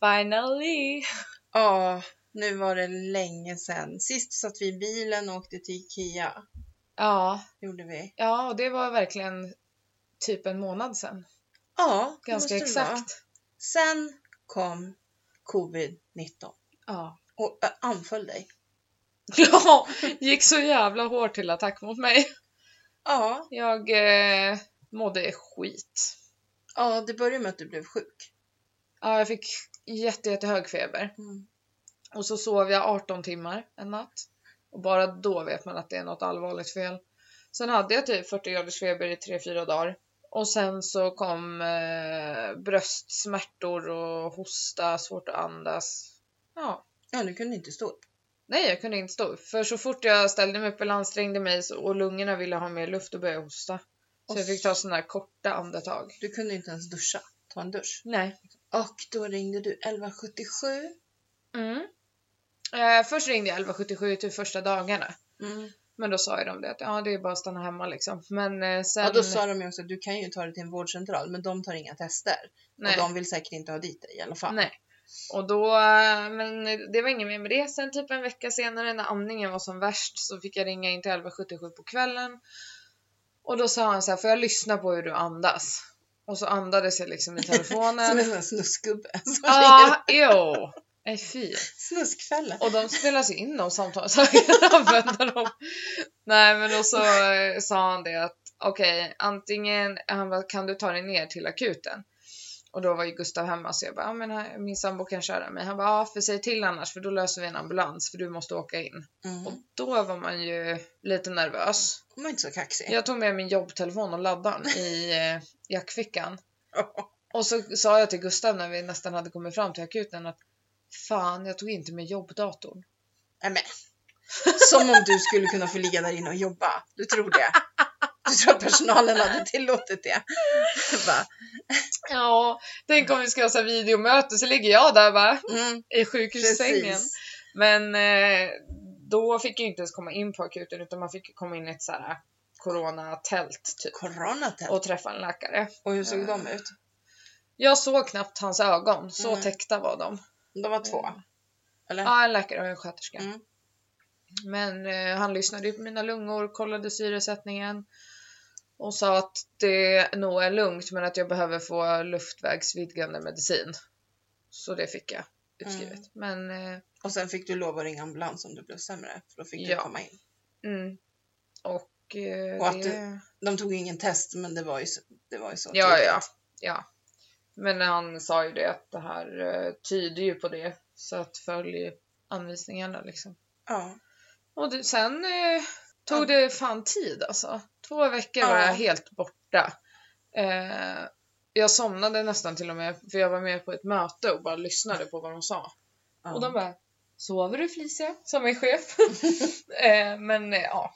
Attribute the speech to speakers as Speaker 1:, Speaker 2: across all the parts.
Speaker 1: Finally!
Speaker 2: Ja, nu var det länge sedan. Sist satt vi i bilen och åkte till Ikea.
Speaker 1: Ja,
Speaker 2: Gjorde vi.
Speaker 1: ja och det var verkligen typ en månad sedan.
Speaker 2: Ja, det måste
Speaker 1: Ganska
Speaker 2: det vara.
Speaker 1: exakt.
Speaker 2: Sen kom covid-19
Speaker 1: Ja.
Speaker 2: och ö, anföll dig.
Speaker 1: ja, gick så jävla hårt till attack mot mig.
Speaker 2: Ja,
Speaker 1: Jag eh, mådde skit.
Speaker 2: ja, det började med att du blev sjuk.
Speaker 1: Ja, jag fick jätte, jättehög feber
Speaker 2: Mm.
Speaker 1: och så sov jag 18 timmar en natt och bara då vet man att det är något allvarligt fel. Sen hade jag typ 40 graders feber i 3-4 dagar och sen så kom eh, bröstsmärtor och hosta, svårt att andas. Ja,
Speaker 2: Ja, du kunde inte stå upp.
Speaker 1: nej, jag kunde inte stå upp för så fort jag ställde mig upp eller ansträngde mig så, och lungorna ville ha mer luft och började jag hosta. Så jag fick ta sådana här korta andetag.
Speaker 2: Du kunde inte ens duscha, ta en dusch.
Speaker 1: Nej,
Speaker 2: Och då ringde du 1177.
Speaker 1: Mm. Eh, först ringde jag 1177 till första dagarna.
Speaker 2: Mm.
Speaker 1: Men då sa ju de det att ja, det är bara att stanna hemma liksom. Men eh, sen...
Speaker 2: Ja, då sa de ju också att du kan ju ta dig till en vårdcentral, men de tar inga tester.
Speaker 1: nej,
Speaker 2: Och de vill säkert inte ha dit dig i alla fall.
Speaker 1: nej. Och då, eh, men det var inget mer med det. Sen typ en vecka senare när amningen var som värst så fick jag ringa in till 1177 på kvällen. Och då sa han så här, får jag lyssna på hur du andas? Och så andades jag liksom i
Speaker 2: Som en
Speaker 1: telefonen.
Speaker 2: sån här snuskgubbe. Alltså, som ringer.
Speaker 1: Ja, jo! Nej fy.
Speaker 2: Snuskfälla.
Speaker 1: Och de spelas ju in de samtalen så jag kan använda dem. Nej men då så eh, sa han det att okej antingen han bara, kan du ta dig ner till akuten? Och då var ju Gustav hemma så jag bara, ja men han- min sambo kan köra mig. Han bara, ja för säg till annars för då löser vi en ambulans för du måste åka in. Och
Speaker 2: Mm.
Speaker 1: då var man ju lite nervös.
Speaker 2: De var inte så kaxig.
Speaker 1: Jag tog med min jobbtelefon och laddaren i eh, jackfickan. Och så sa jag till Gustav när vi nästan hade kommit fram till akuten att fan jag tog inte med jobbdatorn.
Speaker 2: Nej, men. Som om du skulle kunna få ligga där inne och jobba. Du tror det? Du tror att personalen hade tillåtit det? Va?
Speaker 1: Ja, tänk om vi ska ha så här videomöte så ligger jag där bara
Speaker 2: Mm,
Speaker 1: i sjukhussängen.
Speaker 2: precis.
Speaker 1: Men eh, då fick jag inte ens komma in på akuten utan man fick komma in i ett så här coronatält typ
Speaker 2: Coronatält.
Speaker 1: och träffa en läkare.
Speaker 2: Och hur såg de ut?
Speaker 1: Jag såg knappt hans ögon, så
Speaker 2: Mm.
Speaker 1: täckta var de.
Speaker 2: De var två. Eller?
Speaker 1: Ja, en läkare och en sköterska.
Speaker 2: Mm.
Speaker 1: Men eh, han lyssnade ju på mina lungor, kollade syresättningen och sa att det nog är lugnt men att jag behöver få luftvägsvidgande medicin. Så det fick jag utskrivet.
Speaker 2: Mm.
Speaker 1: Men eh,
Speaker 2: Och sen fick du lov att ringa ambulans om du blev sämre. För då fick
Speaker 1: Ja.
Speaker 2: du komma in.
Speaker 1: mm. Och, eh,
Speaker 2: Och att
Speaker 1: det...
Speaker 2: du- De tog ju ingen test, men det var ju så, det var ju så
Speaker 1: Ja, ja,
Speaker 2: tydligt.
Speaker 1: ja. Men han sa ju det att det här eh, tyder ju på det. Så att följ anvisningarna liksom.
Speaker 2: ja.
Speaker 1: Och det, sen eh,
Speaker 2: Ja.
Speaker 1: tog det fan tid alltså. Två veckor var
Speaker 2: Ja.
Speaker 1: jag helt borta. Eh, jag somnade nästan till och med för jag var med på ett möte och bara lyssnade på vad de sa.
Speaker 2: ja.
Speaker 1: Och de bara Sover du Felicia? Som är chef. eh, men eh, ja.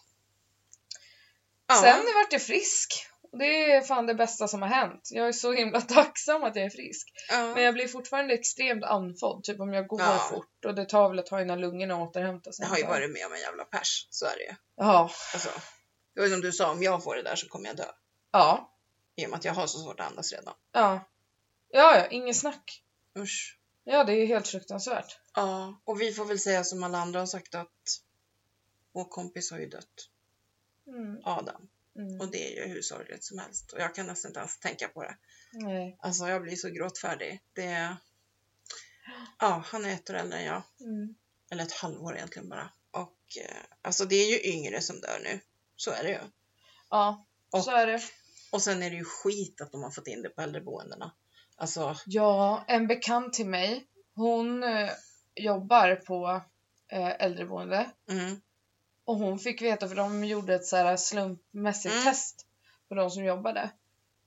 Speaker 2: ja.
Speaker 1: Sen vart jag frisk. Och det är fan det bästa som har hänt. Jag är så himla tacksam att jag är frisk.
Speaker 2: ja.
Speaker 1: Men jag blir fortfarande extremt andfådd. Typ om jag går
Speaker 2: Ja.
Speaker 1: fort och det tar väl ett tag innan lungorna återhämtar sig.
Speaker 2: Jag har ju varit med om en jävla pers, så är det ju.
Speaker 1: Ja.
Speaker 2: Alltså, det var ju som du sa, om jag får det där så kommer jag dö.
Speaker 1: Ja.
Speaker 2: I och med att jag har så svårt att andas redan.
Speaker 1: Ja. Ja, ja, inget snack.
Speaker 2: Usch.
Speaker 1: Ja, det är ju helt fruktansvärt.
Speaker 2: Ja, och vi får väl säga som alla andra har sagt att vår kompis har ju dött,
Speaker 1: Mm,
Speaker 2: Adam.
Speaker 1: mm,
Speaker 2: Och det är ju hur sorgligt som helst. Och jag kan nästan inte ens tänka på det.
Speaker 1: nej.
Speaker 2: Alltså jag blir så gråtfärdig. Det... Ja, han är ett år äldre än jag.
Speaker 1: Mm,
Speaker 2: Eller ett halvår egentligen bara. Och eh, alltså det är ju yngre som dör nu. Så är det ju.
Speaker 1: ja,
Speaker 2: Och-
Speaker 1: så är det.
Speaker 2: Och sen är det ju skit att de har fått in det på äldreboendena. Alltså,
Speaker 1: Ja, en bekant till mig, hon eh, jobbar på eh, äldreboende
Speaker 2: mm,
Speaker 1: och hon fick veta, för de gjorde ett så här slumpmässigt
Speaker 2: Mm.
Speaker 1: test på de som jobbade.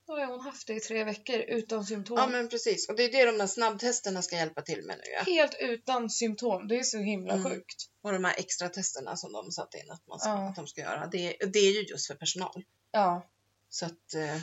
Speaker 1: Då har hon haft det i tre veckor utan symptom.
Speaker 2: Ja men precis, och det är det de där snabbtesterna ska hjälpa till med nu ja.
Speaker 1: Helt utan symptom. Det är så himla
Speaker 2: Mm.
Speaker 1: sjukt.
Speaker 2: Och de här extra testerna som de satte in att, man ska,
Speaker 1: Ja.
Speaker 2: att de ska göra, det, det är ju just för personal.
Speaker 1: Ja,
Speaker 2: Så att, eh,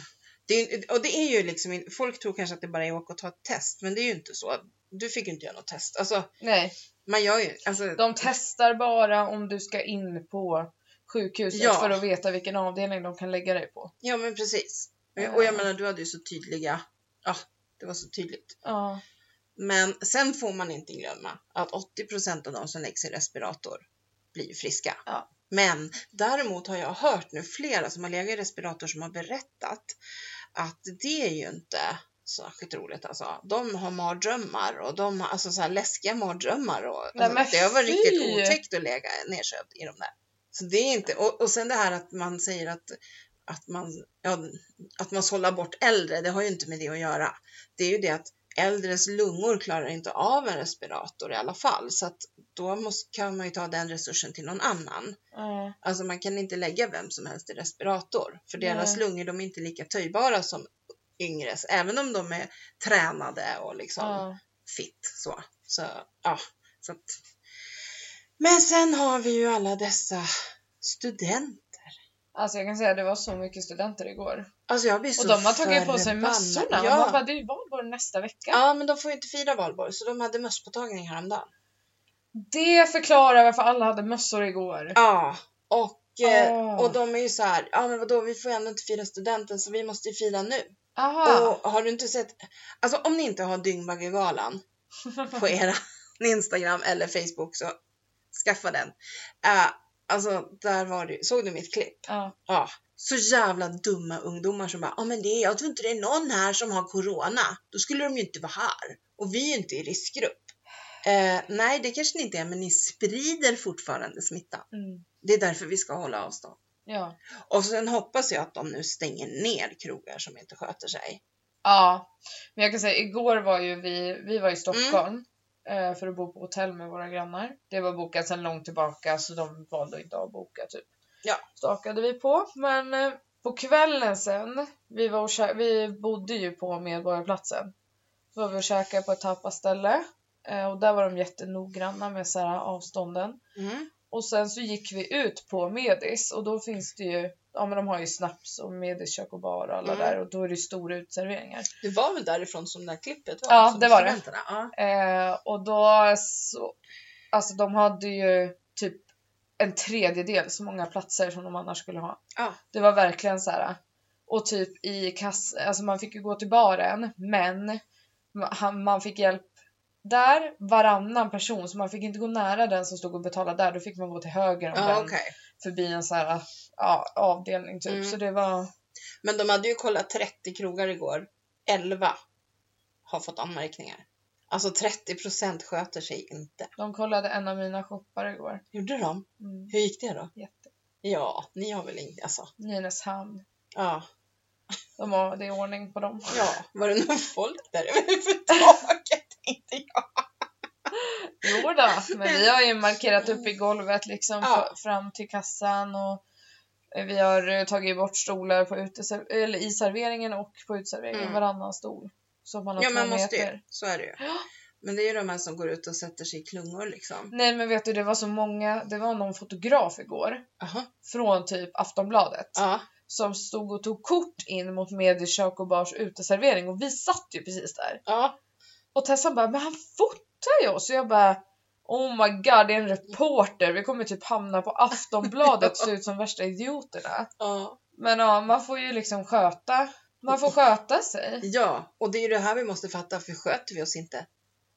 Speaker 2: det, är- och det är ju liksom, in- folk tror kanske att det bara är att åka och ta ett test, men det är ju inte så. Du fick ju inte göra något test. Alltså,
Speaker 1: nej.
Speaker 2: man gör ju, alltså,
Speaker 1: De testar bara om du ska in på sjukhuset
Speaker 2: Ja.
Speaker 1: för att veta vilken avdelning de kan lägga dig på.
Speaker 2: ja men precis.
Speaker 1: Ja.
Speaker 2: Och jag menar, du hade ju så tydliga, ja, det var så tydligt.
Speaker 1: Ja.
Speaker 2: Men sen får man inte glömma att 80 av de som läggs i respirator blir ju friska.
Speaker 1: Ja.
Speaker 2: Men däremot har jag hört nu flera som har legat i respirator som har berättat att det är ju inte särskilt roligt alltså. De har mardrömmar och de har alltså så här läskiga mardrömmar och
Speaker 1: Nej, men
Speaker 2: alltså, det har varit
Speaker 1: fy!
Speaker 2: riktigt otäckt att lägga nedsövd i de där. Så det är inte, och, och sen det här att man säger att, att man, ja, att man sållar bort äldre, det har ju inte med det att göra. Det är ju det att äldres lungor klarar inte av en respirator i alla fall, så att då måste, kan man ju ta den resursen till någon annan.
Speaker 1: Ja.
Speaker 2: Alltså man kan inte lägga vem som helst i respirator, för
Speaker 1: Nej.
Speaker 2: deras lungor de är inte lika töjbara som yngres, även om de är tränade och liksom
Speaker 1: Ja.
Speaker 2: fitt så. så, ja, så att. Men sen har vi ju alla dessa studenter.
Speaker 1: Alltså jag kan säga att det var så mycket studenter igår.
Speaker 2: Alltså jag blir så
Speaker 1: Och de har tagit på sig
Speaker 2: förbannad.
Speaker 1: mössorna. Ja. Man bara,
Speaker 2: Ja.
Speaker 1: det är ju valborg nästa vecka.
Speaker 2: ja, men de får ju inte fira valborg, så de hade mösspåtagning häromdagen.
Speaker 1: Det förklarar varför alla hade mössor igår.
Speaker 2: Ja, och, eh,
Speaker 1: Åh.
Speaker 2: och de är ju så här, ja men vadå, vi får ju ändå inte fira studenten så vi måste ju fira nu.
Speaker 1: Aha.
Speaker 2: Och har du inte sett, alltså om ni inte har Dyngbaggegalan på era Instagram eller Facebook så skaffa den. Eh, alltså där var det ju- såg du mitt klipp?
Speaker 1: Ja.
Speaker 2: Ja, så jävla dumma ungdomar som bara, ja men det, jag tror inte det är någon här som har corona. Då skulle de ju inte vara här. Och vi är ju inte i riskgrupp. Eh, nej, det kanske ni inte är, men ni sprider fortfarande smittan.
Speaker 1: Mm.
Speaker 2: Det är därför vi ska hålla avstånd.
Speaker 1: Ja.
Speaker 2: Och sen hoppas jag att de nu stänger ner krogar som inte sköter sig.
Speaker 1: Ja, men jag kan säga igår var ju vi, vi var i Stockholm eh, för att bo på hotell med våra grannar. Det var bokat sedan långt tillbaka så de valde inte att boka typ.
Speaker 2: Ja.
Speaker 1: Stakade vi på, men eh, på kvällen sen, vi, var och kä- vi bodde ju på Medborgarplatsen. Så var vi och käkade på ett tapaställe eh, och där var de jättenoggranna med så här avstånden.
Speaker 2: Mm.
Speaker 1: Och sen så gick vi ut på Medis och då finns det ju, ja men de har ju snaps och Medis kök och bar och alla
Speaker 2: Mm.
Speaker 1: där och då är det stora utserveringar.
Speaker 2: Det var väl därifrån som det här klippet
Speaker 1: Ja, det var det.
Speaker 2: studenterna, Ja.
Speaker 1: Eh, och då så, alltså de hade ju typ en tredjedel så många platser som de annars skulle ha.
Speaker 2: Ja.
Speaker 1: Det var verkligen så här. Och typ i kass, alltså man fick ju gå till baren, men ma- han- man fick hjälp där varannan person, så man fick inte gå nära den som stod och betalade där, då fick man gå till höger om
Speaker 2: Ja,
Speaker 1: den,
Speaker 2: okej.
Speaker 1: förbi en så här ja, avdelning typ.
Speaker 2: Mm.
Speaker 1: Så det var,
Speaker 2: Men de hade ju kollat 30 krogar igår. 11 har fått anmärkningar. Alltså 30% sköter sig inte.
Speaker 1: de kollade en av mina shoppar igår.
Speaker 2: Gjorde de?
Speaker 1: Mm.
Speaker 2: Hur gick det då?
Speaker 1: Jätte.
Speaker 2: Ja, ni har väl inte alltså.
Speaker 1: Nynäshamn.
Speaker 2: Ja.
Speaker 1: De har, det är ordning på dem.
Speaker 2: ja. Var det någon folk där överhuvudtaget? Inte jag.
Speaker 1: Jo då, men vi har ju markerat upp i golvet liksom
Speaker 2: Ja.
Speaker 1: f- fram till kassan och eh, vi har eh, tagit bort stolar på uteser- eller i serveringen och på uteserveringen,
Speaker 2: Mm.
Speaker 1: varannan stol. Så man har
Speaker 2: Ja,
Speaker 1: två
Speaker 2: men måste ju.
Speaker 1: meter.
Speaker 2: Så är det ju.
Speaker 1: Ja.
Speaker 2: Men det är ju de här som går ut och sätter sig i klungor liksom.
Speaker 1: Nej men vet du, det var så många, det var någon fotograf igår
Speaker 2: Aha.
Speaker 1: från typ Aftonbladet
Speaker 2: Ja.
Speaker 1: som stod och tog kort in mot Medis kök och bars uteservering och vi satt ju precis där.
Speaker 2: Ja.
Speaker 1: Och Tessan bara, men han fotar ju oss! Och jag bara, oh my god, det är en reporter, vi kommer typ hamna på Aftonbladet och se ut som värsta idioterna.
Speaker 2: Ja.
Speaker 1: Men ja, man får ju liksom sköta, man får sköta sig.
Speaker 2: ja, och det är ju det här vi måste fatta. För sköter vi oss inte,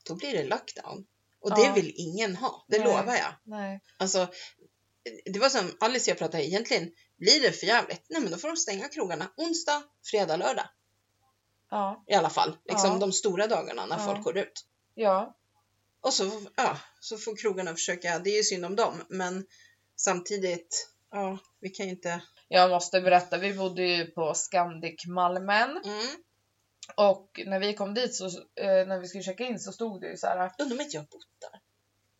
Speaker 2: då blir det lockdown. Och det
Speaker 1: Ja.
Speaker 2: vill ingen ha. Det
Speaker 1: Nej.
Speaker 2: lovar jag.
Speaker 1: Nej.
Speaker 2: Alltså, det var som Alice och jag pratade, egentligen blir det för jävligt. Nej men då får de stänga krogarna onsdag, fredag, lördag
Speaker 1: Ja,
Speaker 2: i alla fall. Liksom
Speaker 1: Ja.
Speaker 2: de stora dagarna när
Speaker 1: Ja.
Speaker 2: folk går ut.
Speaker 1: ja,
Speaker 2: Och så, ja, så får krogarna försöka, det är ju synd om dem, men samtidigt, ja, vi kan ju inte...
Speaker 1: jag måste berätta, vi bodde ju på Scandic Malmen
Speaker 2: Mm.
Speaker 1: och när vi kom dit så, eh, när vi skulle checka in så stod det ju så här.
Speaker 2: Undrar om inte jag har bott där.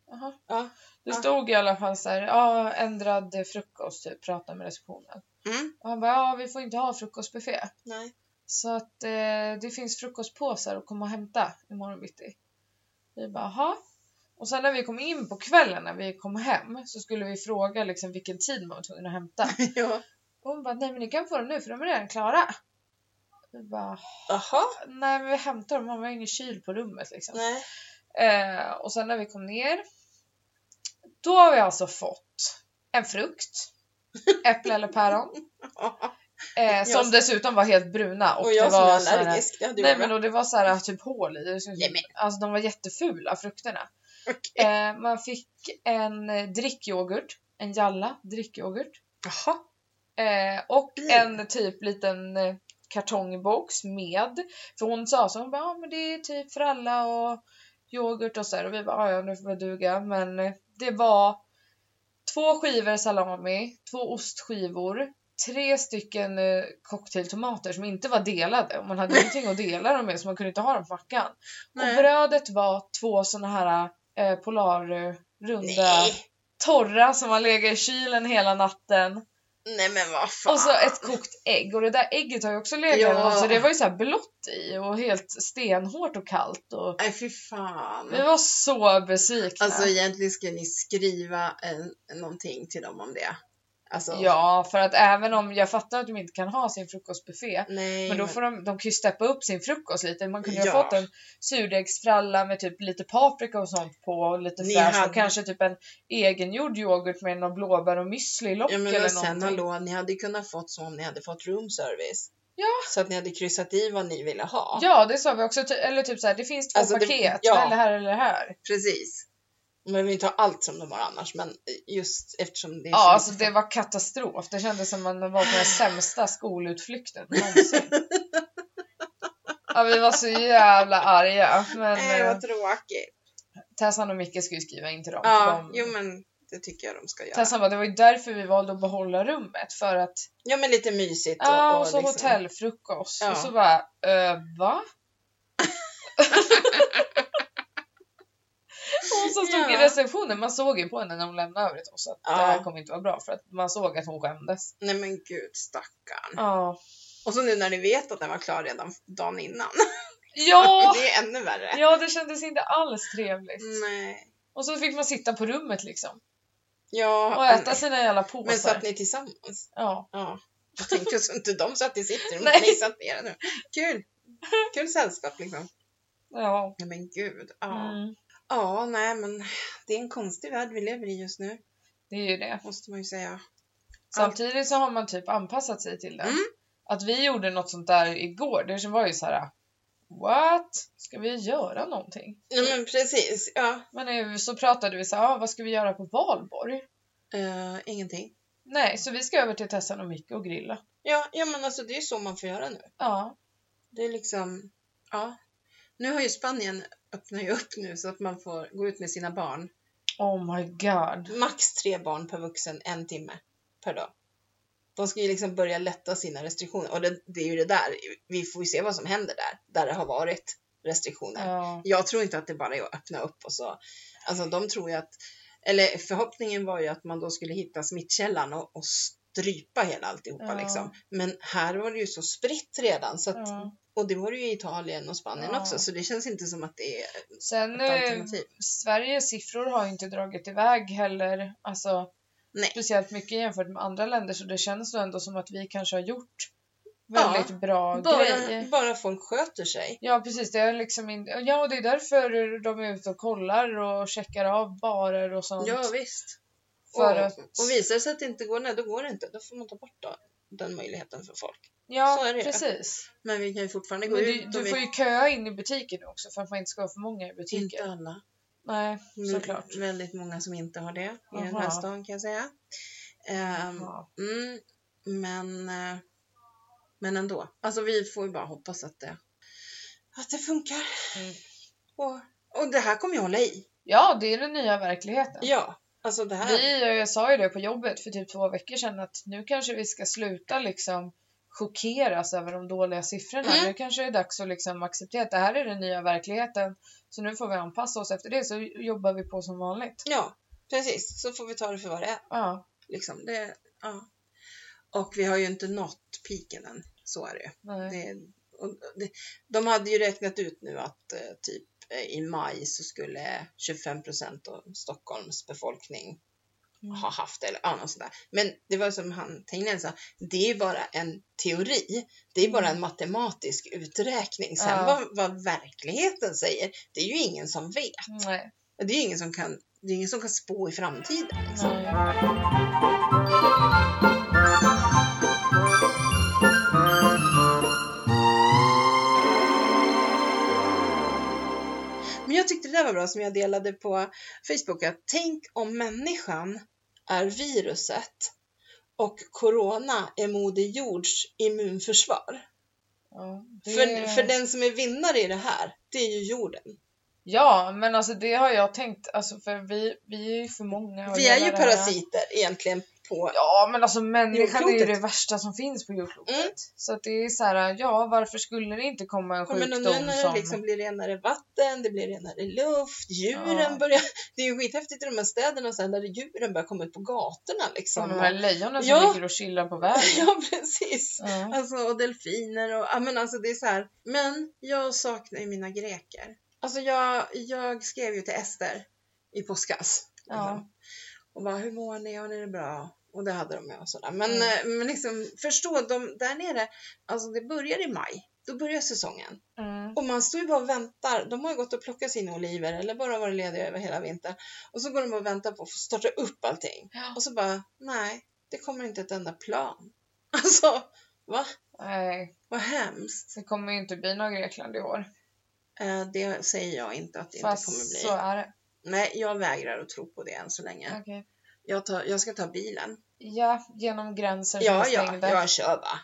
Speaker 1: Jaha.
Speaker 2: Ja.
Speaker 1: Det
Speaker 2: Ja.
Speaker 1: stod i alla fall så här, ja, ändrad frukost, typ, prata med receptionen.
Speaker 2: Mm.
Speaker 1: Och han bara, ja, vi får inte ha frukostbuffé.
Speaker 2: Nej.
Speaker 1: Så att eh, det finns frukostpåsar att komma och hämta imorgon bitti. Vi bara, aha. Och sen när vi kom in på kvällen när vi kom hem så skulle vi fråga liksom vilken tid man var tvungen att hämta.
Speaker 2: ja.
Speaker 1: Och hon bara, nej men ni kan få dem nu för de är redan klara. Vi bara,
Speaker 2: Aha.
Speaker 1: nej men vi hämtar dem, man har ingen kyl på rummet liksom.
Speaker 2: Nej.
Speaker 1: Eh, och sen när vi kom ner, då har vi alltså fått en frukt, äpple eller päron, Eh,
Speaker 2: Jag-
Speaker 1: som dessutom var helt bruna. Och,
Speaker 2: Och jag
Speaker 1: det
Speaker 2: som
Speaker 1: var
Speaker 2: är
Speaker 1: så här,
Speaker 2: allergisk, det hade
Speaker 1: Nej
Speaker 2: gjort
Speaker 1: men
Speaker 2: det.
Speaker 1: och det var så här typ hål i. Det såg ut
Speaker 2: Nej,
Speaker 1: som- Alltså de var jättefula frukterna.
Speaker 2: Okej.
Speaker 1: Eh, man fick en eh, drickyoghurt, en jalla drickyoghurt.
Speaker 2: Jaha.
Speaker 1: Eh, och
Speaker 2: Mm.
Speaker 1: en typ liten eh, kartongbox med. För hon sa så, hon bara, ja men det är typ för alla och yoghurt och så här. Och vi bara, "Ja, ja nu får det duga. Men eh, det var två skivor salami, två ostskivor, tre stycken eh, cocktailtomater som inte var delade. Och man hade ingenting att dela dem med så man kunde inte ha dem på mackan. Och
Speaker 2: Nej.
Speaker 1: brödet var två såna här eh, polarrunda
Speaker 2: Nej.
Speaker 1: torra som har legat i kylen hela natten.
Speaker 2: Nej men vad fan.
Speaker 1: Och så ett kokt ägg och det där ägget har ju också legat
Speaker 2: Ja.
Speaker 1: ja. så det var ju så här blått i och helt stenhårt och kallt och
Speaker 2: Nej fy fan.
Speaker 1: vi var så besvikna.
Speaker 2: Alltså egentligen skulle ni skriva en, någonting till dem om det. Alltså,
Speaker 1: ja, för att även om jag fattar att de inte kan ha sin frukostbuffé
Speaker 2: nej,
Speaker 1: men då får de, de kan ju steppa upp sin frukost lite. Man kunde ju
Speaker 2: Ja.
Speaker 1: ha fått en surdegsfralla med typ lite paprika och sånt på och lite
Speaker 2: Ni
Speaker 1: fräsch
Speaker 2: hade-
Speaker 1: och kanske typ en egengjord yoghurt med någon blåbär och müsli i lock
Speaker 2: Ja, men
Speaker 1: eller
Speaker 2: och sen
Speaker 1: någonting.
Speaker 2: hallå, ni hade ju kunnat fått så om ni hade fått room service.
Speaker 1: Ja.
Speaker 2: Så att ni hade kryssat i vad ni ville ha.
Speaker 1: Ja, det sa vi också. ty- Eller typ så här, det finns två
Speaker 2: Alltså, det-
Speaker 1: paket,
Speaker 2: ja.
Speaker 1: eller här eller här.
Speaker 2: Precis. Man vill inte ha allt som de har annars, men just eftersom det är
Speaker 1: Ja,
Speaker 2: så
Speaker 1: alltså
Speaker 2: lite-
Speaker 1: det var katastrof. Det kändes som man var på den sämsta skolutflykten någonsin. Ja, vi var så jävla arga. Men
Speaker 2: Nej,
Speaker 1: eh,
Speaker 2: vad tråkigt.
Speaker 1: Tessan och Micke skulle ju skriva in till dem. för
Speaker 2: Ja,
Speaker 1: de,
Speaker 2: jo men det tycker jag de ska göra.
Speaker 1: Tessan bara, det var ju därför vi valde att behålla rummet. För att,
Speaker 2: Ja, men lite mysigt. liksom-
Speaker 1: ja, och så hotellfrukost.
Speaker 2: Ja.
Speaker 1: Och så bara, äh, va? Hon som stod i
Speaker 2: Ja.
Speaker 1: receptionen, man såg ju på henne när hon lämnade över till oss att det
Speaker 2: Ja.
Speaker 1: här kommer inte vara bra för att man såg att hon skämdes.
Speaker 2: Nej men gud stackarn.
Speaker 1: Ja,
Speaker 2: Och så nu när ni vet att den var klar redan dagen innan.
Speaker 1: ja
Speaker 2: Det Mm. är ännu värre.
Speaker 1: Ja, det kändes inte alls trevligt.
Speaker 2: Nej.
Speaker 1: Och så fick man sitta på rummet liksom
Speaker 2: Ja.
Speaker 1: och äta sina jävla påsar.
Speaker 2: men satt ni tillsammans?
Speaker 1: Ja.
Speaker 2: Ja. Jag tänkte så inte de satt i sitt rum,
Speaker 1: Nej.
Speaker 2: ni satt ner nu. Kul! Kul sällskap liksom.
Speaker 1: ja.
Speaker 2: Ja, men gud. Ja.
Speaker 1: Mm.
Speaker 2: ja, nej men det är en konstig värld vi lever i just nu,
Speaker 1: Det är ju det.
Speaker 2: måste man ju
Speaker 1: Mm.
Speaker 2: säga.
Speaker 1: Samtidigt så har man typ anpassat sig till det.
Speaker 2: Mm.
Speaker 1: Att vi gjorde något sånt där igår, det var ju så här. What? Ska vi göra någonting?
Speaker 2: Ja, men precis. Ja.
Speaker 1: Men eh, så pratade vi så här, ah, vad ska vi göra på valborg?
Speaker 2: Eh, ingenting.
Speaker 1: Nej, så vi ska över till Tessan och Micke och grilla.
Speaker 2: Ja, ja, men alltså det är ju så man får göra nu.
Speaker 1: Ja,
Speaker 2: Det är liksom, ja. Nu har ju Spanien öppnar ju upp nu så att man får gå ut med sina barn.
Speaker 1: oh my god.
Speaker 2: Max tre barn per vuxen, en timme per dag. De ska ju liksom börja lätta sina restriktioner och det, det är ju det där, vi får ju se vad som händer där, där det har varit restriktioner.
Speaker 1: Ja.
Speaker 2: Jag tror inte att det bara är att öppna upp och så, alltså de tror ju att, eller förhoppningen var ju att man då skulle hitta smittkällan och, och strypa hela alltihopa
Speaker 1: Ja.
Speaker 2: liksom. Men här var det ju så spritt redan så att
Speaker 1: Ja.
Speaker 2: och det var det ju i Italien och Spanien
Speaker 1: Ja.
Speaker 2: också, så det känns inte som att det är ett
Speaker 1: Sen eh,
Speaker 2: alternativ.
Speaker 1: Sveriges siffror har ju inte dragit iväg heller, alltså
Speaker 2: Nej.
Speaker 1: speciellt mycket jämfört med andra länder så det känns nog ändå som att vi kanske har gjort väldigt bra
Speaker 2: Bara,
Speaker 1: grejer.
Speaker 2: bara folk sköter sig.
Speaker 1: Ja precis, det är liksom in... ja, och det är därför de är ute och kollar och checkar av barer och sånt.
Speaker 2: Ja, visst.
Speaker 1: För
Speaker 2: och,
Speaker 1: att-
Speaker 2: och visar det sig att det inte går, nej då går det inte. Då får man ta bort då, den möjligheten för folk.
Speaker 1: Ja,
Speaker 2: så är det ju.
Speaker 1: precis.
Speaker 2: Men vi kan ju fortfarande gå
Speaker 1: Men du,
Speaker 2: ut. och
Speaker 1: du
Speaker 2: vi-
Speaker 1: får ju köa in i butiken också för att man inte ska ha för många i butiken.
Speaker 2: Inte Mm. alla.
Speaker 1: Nej,
Speaker 2: Men
Speaker 1: såklart.
Speaker 2: Väldigt många som inte har det i den här
Speaker 1: Aha.
Speaker 2: stan kan jag säga. Ehm,
Speaker 1: Ja.
Speaker 2: mm, men, eh, men ändå. Alltså vi får ju bara hoppas att det, att det funkar.
Speaker 1: Mm.
Speaker 2: Och, och det här kommer jag hålla i.
Speaker 1: ja, det är den nya verkligheten.
Speaker 2: Ja, alltså det här.
Speaker 1: Vi jag sa ju det på jobbet för typ två veckor sedan att nu kanske vi ska sluta liksom chockeras över de dåliga siffrorna.
Speaker 2: Mm.
Speaker 1: Nu kanske det är dags att liksom acceptera att det här är den nya verkligheten. Så nu får vi anpassa oss efter det så jobbar vi på som vanligt.
Speaker 2: Ja, precis. Så får vi ta det för vad det är.
Speaker 1: Ja,
Speaker 2: Liksom. Det, ja. Och vi har ju inte nått piken än. Så är det ju.
Speaker 1: nej.
Speaker 2: Det, och det, de hade ju räknat ut nu att eh, typ eh, i maj så skulle 25 procent av Stockholms befolkning
Speaker 1: Mm.
Speaker 2: ha haft det eller ja, något sånt där. Men det var som han Tegnell sa, det är ju bara en teori. Det är bara en matematisk uträkning. Sen
Speaker 1: Ja.
Speaker 2: vad, vad verkligheten säger, det är ju ingen som vet.
Speaker 1: nej.
Speaker 2: Det är ju ingen som kan, det är ingen som kan spå i framtiden. Liksom.
Speaker 1: nej.
Speaker 2: Men jag tyckte det där var bra som jag delade på Facebook. Att tänk om människan är viruset och corona är Moder Jords immunförsvar.
Speaker 1: Ja,
Speaker 2: För, för den som är vinnare i det här, det är ju jorden.
Speaker 1: ja, men alltså det har jag tänkt, alltså för vi, vi är ju för många. och
Speaker 2: Vi är
Speaker 1: hela
Speaker 2: ju
Speaker 1: det här-
Speaker 2: parasiter egentligen på...
Speaker 1: Ja, men alltså människan är ju
Speaker 2: Jordklotet.
Speaker 1: det värsta som finns på jordklotet.
Speaker 2: Mm.
Speaker 1: Så att det är så här, ja varför skulle det inte komma en
Speaker 2: Ja, men
Speaker 1: sjukdom
Speaker 2: nu när
Speaker 1: som...
Speaker 2: det liksom blir renare vatten, det blir renare luft, djuren
Speaker 1: Ja.
Speaker 2: börjar... Det är ju skithäftigt i de här städerna sen när djuren börjar komma ut på gatorna liksom.
Speaker 1: Som de här lejonen som
Speaker 2: Ja.
Speaker 1: ligger och chillar på vägen.
Speaker 2: Ja, precis.
Speaker 1: Ja.
Speaker 2: Alltså, och delfiner och... Ja, men alltså det är så här. Men jag saknar ju mina greker. Alltså jag, jag skrev ju till Ester i påskas. Liksom.
Speaker 1: Ja.
Speaker 2: Och bara, hur mår ni? Har ni det bra? Och det hade de ju och sådär. Men,
Speaker 1: Mm.
Speaker 2: eh, men liksom, förstå, de, där nere, alltså det börjar i maj. Då börjar säsongen.
Speaker 1: Mm.
Speaker 2: Och man står ju bara och väntar. De har ju gått och plockat sina oliver eller bara varit lediga över hela vintern. Och så går de och väntar på att få starta upp allting.
Speaker 1: Ja.
Speaker 2: Och så bara, nej, det kommer inte ett enda plan. Alltså, va?
Speaker 1: Nej,
Speaker 2: Vad hemskt.
Speaker 1: det kommer ju inte bli något Grekland i år.
Speaker 2: Eh, det säger jag inte att det
Speaker 1: Fast
Speaker 2: inte kommer bli.
Speaker 1: så är det.
Speaker 2: Nej, jag vägrar att tro på det än så länge.
Speaker 1: Okej.
Speaker 2: Jag, tar, jag ska ta bilen.
Speaker 1: Ja, genom gränser som
Speaker 2: Ja,
Speaker 1: är
Speaker 2: ja,
Speaker 1: stängda.
Speaker 2: jag kör va.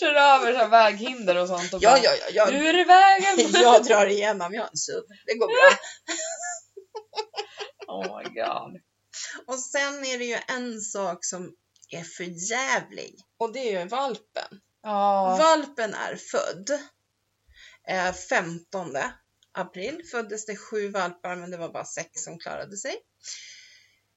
Speaker 1: Kör över så här väghinder och sånt och
Speaker 2: Ja,
Speaker 1: bara,
Speaker 2: ja, ja, jag,
Speaker 1: Nu är det vägen!
Speaker 2: jag drar igenom. Jag har en SUV. Det går bra.
Speaker 1: Oh my god.
Speaker 2: Och sen är det ju en sak som är för jävlig. Och det är ju valpen.
Speaker 1: Ja.
Speaker 2: Valpen är född. Eh, 15 april föddes det sju valpar men det var bara sex som klarade sig.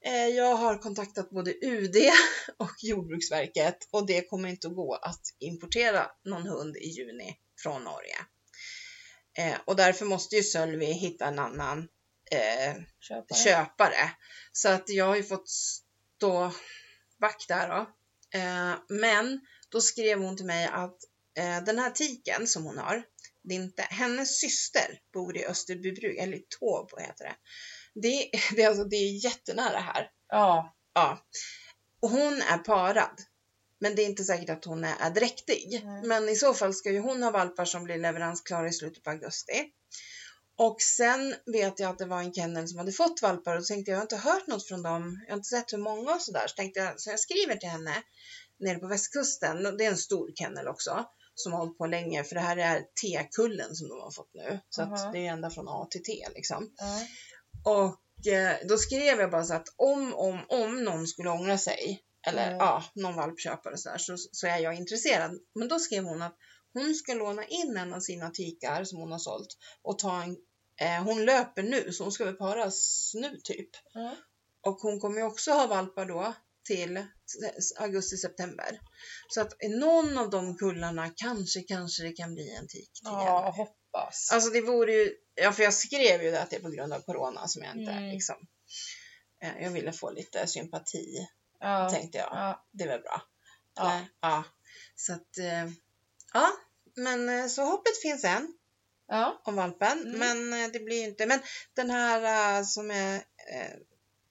Speaker 2: Eh, jag har kontaktat både UD och Jordbruksverket och det kommer inte att gå att importera någon hund i juni från Norge. Eh, och därför måste ju Sölvi hitta en annan eh,
Speaker 1: Köpa det.
Speaker 2: köpare. Så att jag har ju fått stå back där då. Eh, men då skrev hon till mig att eh, den här tiken som hon har, det är inte, hennes syster bor i Österbybruk, eller i Tåbo heter det. Det, är- det, är alltså, det är jättenära här.
Speaker 1: Ja.
Speaker 2: Ja. Och hon är parad. Men det är inte säkert att hon är, är dräktig.
Speaker 1: Nej.
Speaker 2: Men i så fall ska ju hon ha valpar som blir leveransklara i slutet på augusti. Och sen vet jag att det var en kennel som hade fått valpar och då tänkte jag, jag har inte hört något från dem. Jag har inte sett hur många och sådär. Så tänkte jag, så jag skriver till henne nere på västkusten. Och Det är en stor kennel också som har hållit på länge för det här är T-kullen som de har fått nu. Så
Speaker 1: Mhm.
Speaker 2: att det är ända från A till T liksom.
Speaker 1: ja.
Speaker 2: Och eh, då skrev jag bara så att om, om, om någon skulle ångra sig, eller
Speaker 1: Mm.
Speaker 2: ja, någon valpköpare och så, där, så, så är jag intresserad. Men då skrev hon att hon ska låna in en av sina tikar som hon har sålt och ta en, eh, hon löper nu så hon ska väl paras nu typ.
Speaker 1: Mm.
Speaker 2: Och hon kommer ju också ha valpar då till s- augusti-september. Så att i någon av de kullarna kanske, kanske det kan bli en tik till.
Speaker 1: Ja, hoppas.
Speaker 2: Alltså det vore ju, ja för jag skrev ju det att det är på grund av corona som jag inte
Speaker 1: Mm.
Speaker 2: liksom, eh, jag ville få lite sympati
Speaker 1: ja.
Speaker 2: tänkte jag.
Speaker 1: Ja.
Speaker 2: Det var bra.
Speaker 1: Ja.
Speaker 2: Eller? ja. Så att, eh, ja, men eh, så hoppet finns än
Speaker 1: ja.
Speaker 2: om valpen,
Speaker 1: Mm.
Speaker 2: men eh, det blir ju inte, men den här eh, som är, eh,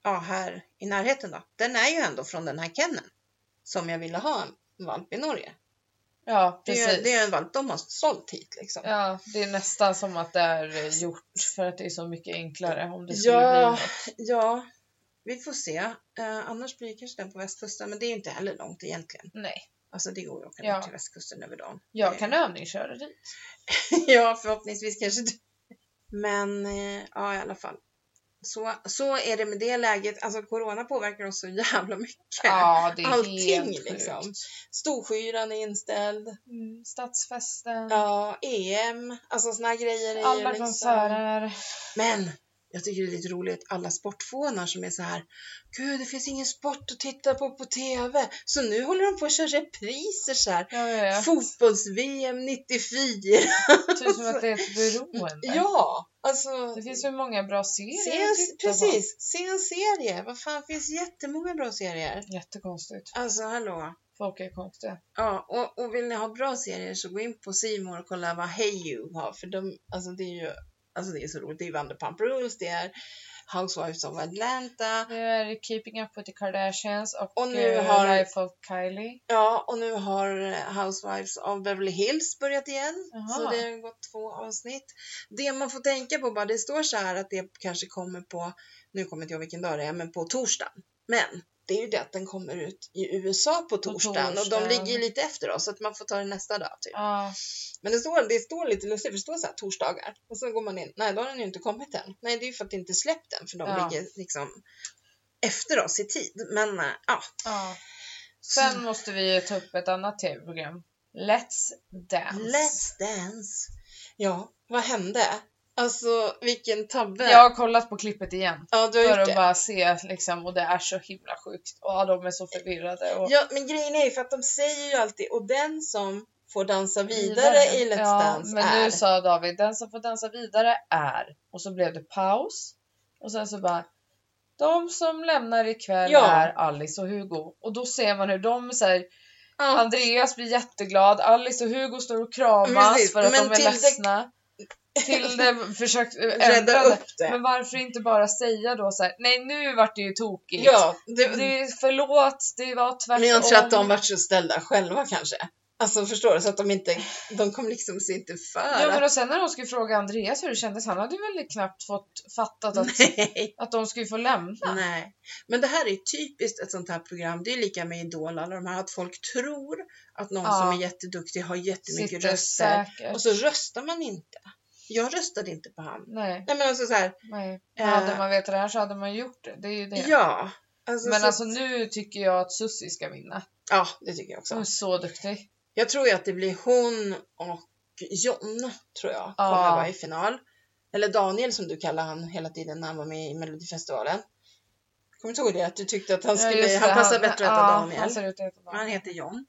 Speaker 2: ja här i närheten då, den är ju ändå från den här kenneln som jag ville ha en valp i Norge.
Speaker 1: Ja,
Speaker 2: Det är,
Speaker 1: precis.
Speaker 2: ju- det är ju en valp de har sålt hit liksom.
Speaker 1: Ja, det är nästan som att det är eh, gjort för att det är så mycket enklare om det skulle bli
Speaker 2: Ja,
Speaker 1: något.
Speaker 2: ja, vi får se. Eh, annars blir det kanske den på västkusten, men det är ju inte heller långt egentligen.
Speaker 1: Nej,
Speaker 2: Alltså det går ju att åka
Speaker 1: Ja.
Speaker 2: ner till västkusten över dagen. Eh,
Speaker 1: jag kan övningsköra dit.
Speaker 2: ja, förhoppningsvis kanske du. Men eh, ja, i alla fall. Så, så är det med det läget. Alltså corona påverkar oss så jävla mycket.
Speaker 1: Ja, det är
Speaker 2: Allting,
Speaker 1: helt sjukt.
Speaker 2: liksom. Storskyran är inställd.
Speaker 1: Mm, stadsfesten,
Speaker 2: Ja, EM. Alltså såna här grejer. är ju
Speaker 1: alla
Speaker 2: liksom-
Speaker 1: konserter.
Speaker 2: Men jag tycker det är lite roligt alla sportfånar som är så här. Gud, det finns ingen sport att titta på på TV. Så nu håller de på att köra repriser så här.
Speaker 1: Ja, ja, ja.
Speaker 2: Fotbolls-VM 94.
Speaker 1: Typ som att det är ett beroende.
Speaker 2: Ja, alltså.
Speaker 1: Det finns hur många bra
Speaker 2: se
Speaker 1: serier
Speaker 2: en,
Speaker 1: att titta på.
Speaker 2: precis, se en serie. Vad fan, det finns jättemånga bra serier.
Speaker 1: Jättekonstigt.
Speaker 2: Alltså hallå.
Speaker 1: Folk är konstiga.
Speaker 2: Ja, och, och vill ni ha bra serier så gå in på Simor och kolla vad Hey You har. För de, alltså det är ju Alltså det är så roligt. Det är Vanderpump Rules, det är Housewives of Atlanta.
Speaker 1: Nu är det Keeping Up With The Kardashians och,
Speaker 2: Och nu
Speaker 1: eh,
Speaker 2: har-
Speaker 1: Life of Kylie.
Speaker 2: Ja, och nu har eh, Housewives of Beverly Hills börjat igen.
Speaker 1: Jaha.
Speaker 2: Så det har gått två avsnitt. Det man får tänka på bara, det står så här att det kanske kommer på, nu kommer inte jag vilken dag det är, men på torsdagen. Men det är ju det att den kommer ut i USA på torsdagen, och de
Speaker 1: torsdagen.
Speaker 2: ligger ju lite efter oss så att man får ta det nästa dag typ.
Speaker 1: Ja,
Speaker 2: Men det står, det står lite lustigt, för det står så här torsdagar och så går man in, nej då har den ju inte kommit än. Nej det är ju för att det inte släppt den för de
Speaker 1: Ja.
Speaker 2: ligger liksom efter oss i tid. Men äh, ja.
Speaker 1: ja. Sen måste vi ju ta upp ett annat tv-program. Let's Dance.
Speaker 2: Let's dance. Ja, vad hände? Alltså vilken tabbe.
Speaker 1: Jag har kollat på klippet igen.
Speaker 2: ja du har
Speaker 1: För
Speaker 2: gjort
Speaker 1: att
Speaker 2: det.
Speaker 1: bara se liksom, och det är så himla sjukt. Och ja, de är så förvirrade. Och...
Speaker 2: Ja, men grejen är ju för att de säger ju alltid och den som får dansa vidare, i Let's
Speaker 1: ja,
Speaker 2: Dance
Speaker 1: men
Speaker 2: är...
Speaker 1: nu sa David, den som får dansa vidare är. Och så blev det paus. Och sen så bara, de som lämnar ikväll
Speaker 2: Ja.
Speaker 1: är Alice och Hugo. Och då ser man hur de säger,
Speaker 2: ja,
Speaker 1: Andreas blir jätteglad, Alice och Hugo står och kramas
Speaker 2: Precis,
Speaker 1: för att
Speaker 2: men
Speaker 1: de är
Speaker 2: Tilde-
Speaker 1: ledsna. Tilde försökte ändra
Speaker 2: rädda
Speaker 1: det.
Speaker 2: upp det.
Speaker 1: Men varför inte bara säga då så här, nej nu vart det ju tokigt.
Speaker 2: Ja, det,
Speaker 1: Det är förlåt, det var tvärtom.
Speaker 2: men jag tror att de vart så ställda själva kanske. Alltså förstår du? Så att de inte, de kom liksom sig inte för.
Speaker 1: Ja, men
Speaker 2: att-
Speaker 1: och sen när de skulle fråga Andreas hur det kändes, han hade väl knappt fått fattat att,
Speaker 2: Nej.
Speaker 1: att de skulle få lämna.
Speaker 2: Nej, men det här är typiskt ett sånt här program. Det är lika med Idol alla de här, att folk tror att någon
Speaker 1: Ja.
Speaker 2: som är jätteduktig har jättemycket
Speaker 1: Sitter
Speaker 2: röster.
Speaker 1: säkert.
Speaker 2: Och så röstar man inte. Jag röstade inte på han.
Speaker 1: Nej,
Speaker 2: Nej men alltså så här,
Speaker 1: nej.
Speaker 2: Eh.
Speaker 1: Hade man vetat det här så hade man gjort det. Det är ju det.
Speaker 2: ja. Alltså,
Speaker 1: men
Speaker 2: så,
Speaker 1: alltså nu tycker jag att Susie ska vinna.
Speaker 2: Ja, det tycker jag också.
Speaker 1: Hon är så duktig.
Speaker 2: Jag tror ju att det blir hon och John, tror jag,
Speaker 1: Ja.
Speaker 2: kommer vara i final. Eller Daniel som du kallar han hela tiden när han var med i Melodifestivalen. Kommer du inte ihåg det? Att du tyckte att han skulle,
Speaker 1: just det,
Speaker 2: han passar bättre att heta
Speaker 1: ja, alltså-
Speaker 2: Daniel.
Speaker 1: Han ser ut att heta
Speaker 2: Men han
Speaker 1: Daniel.
Speaker 2: heter John.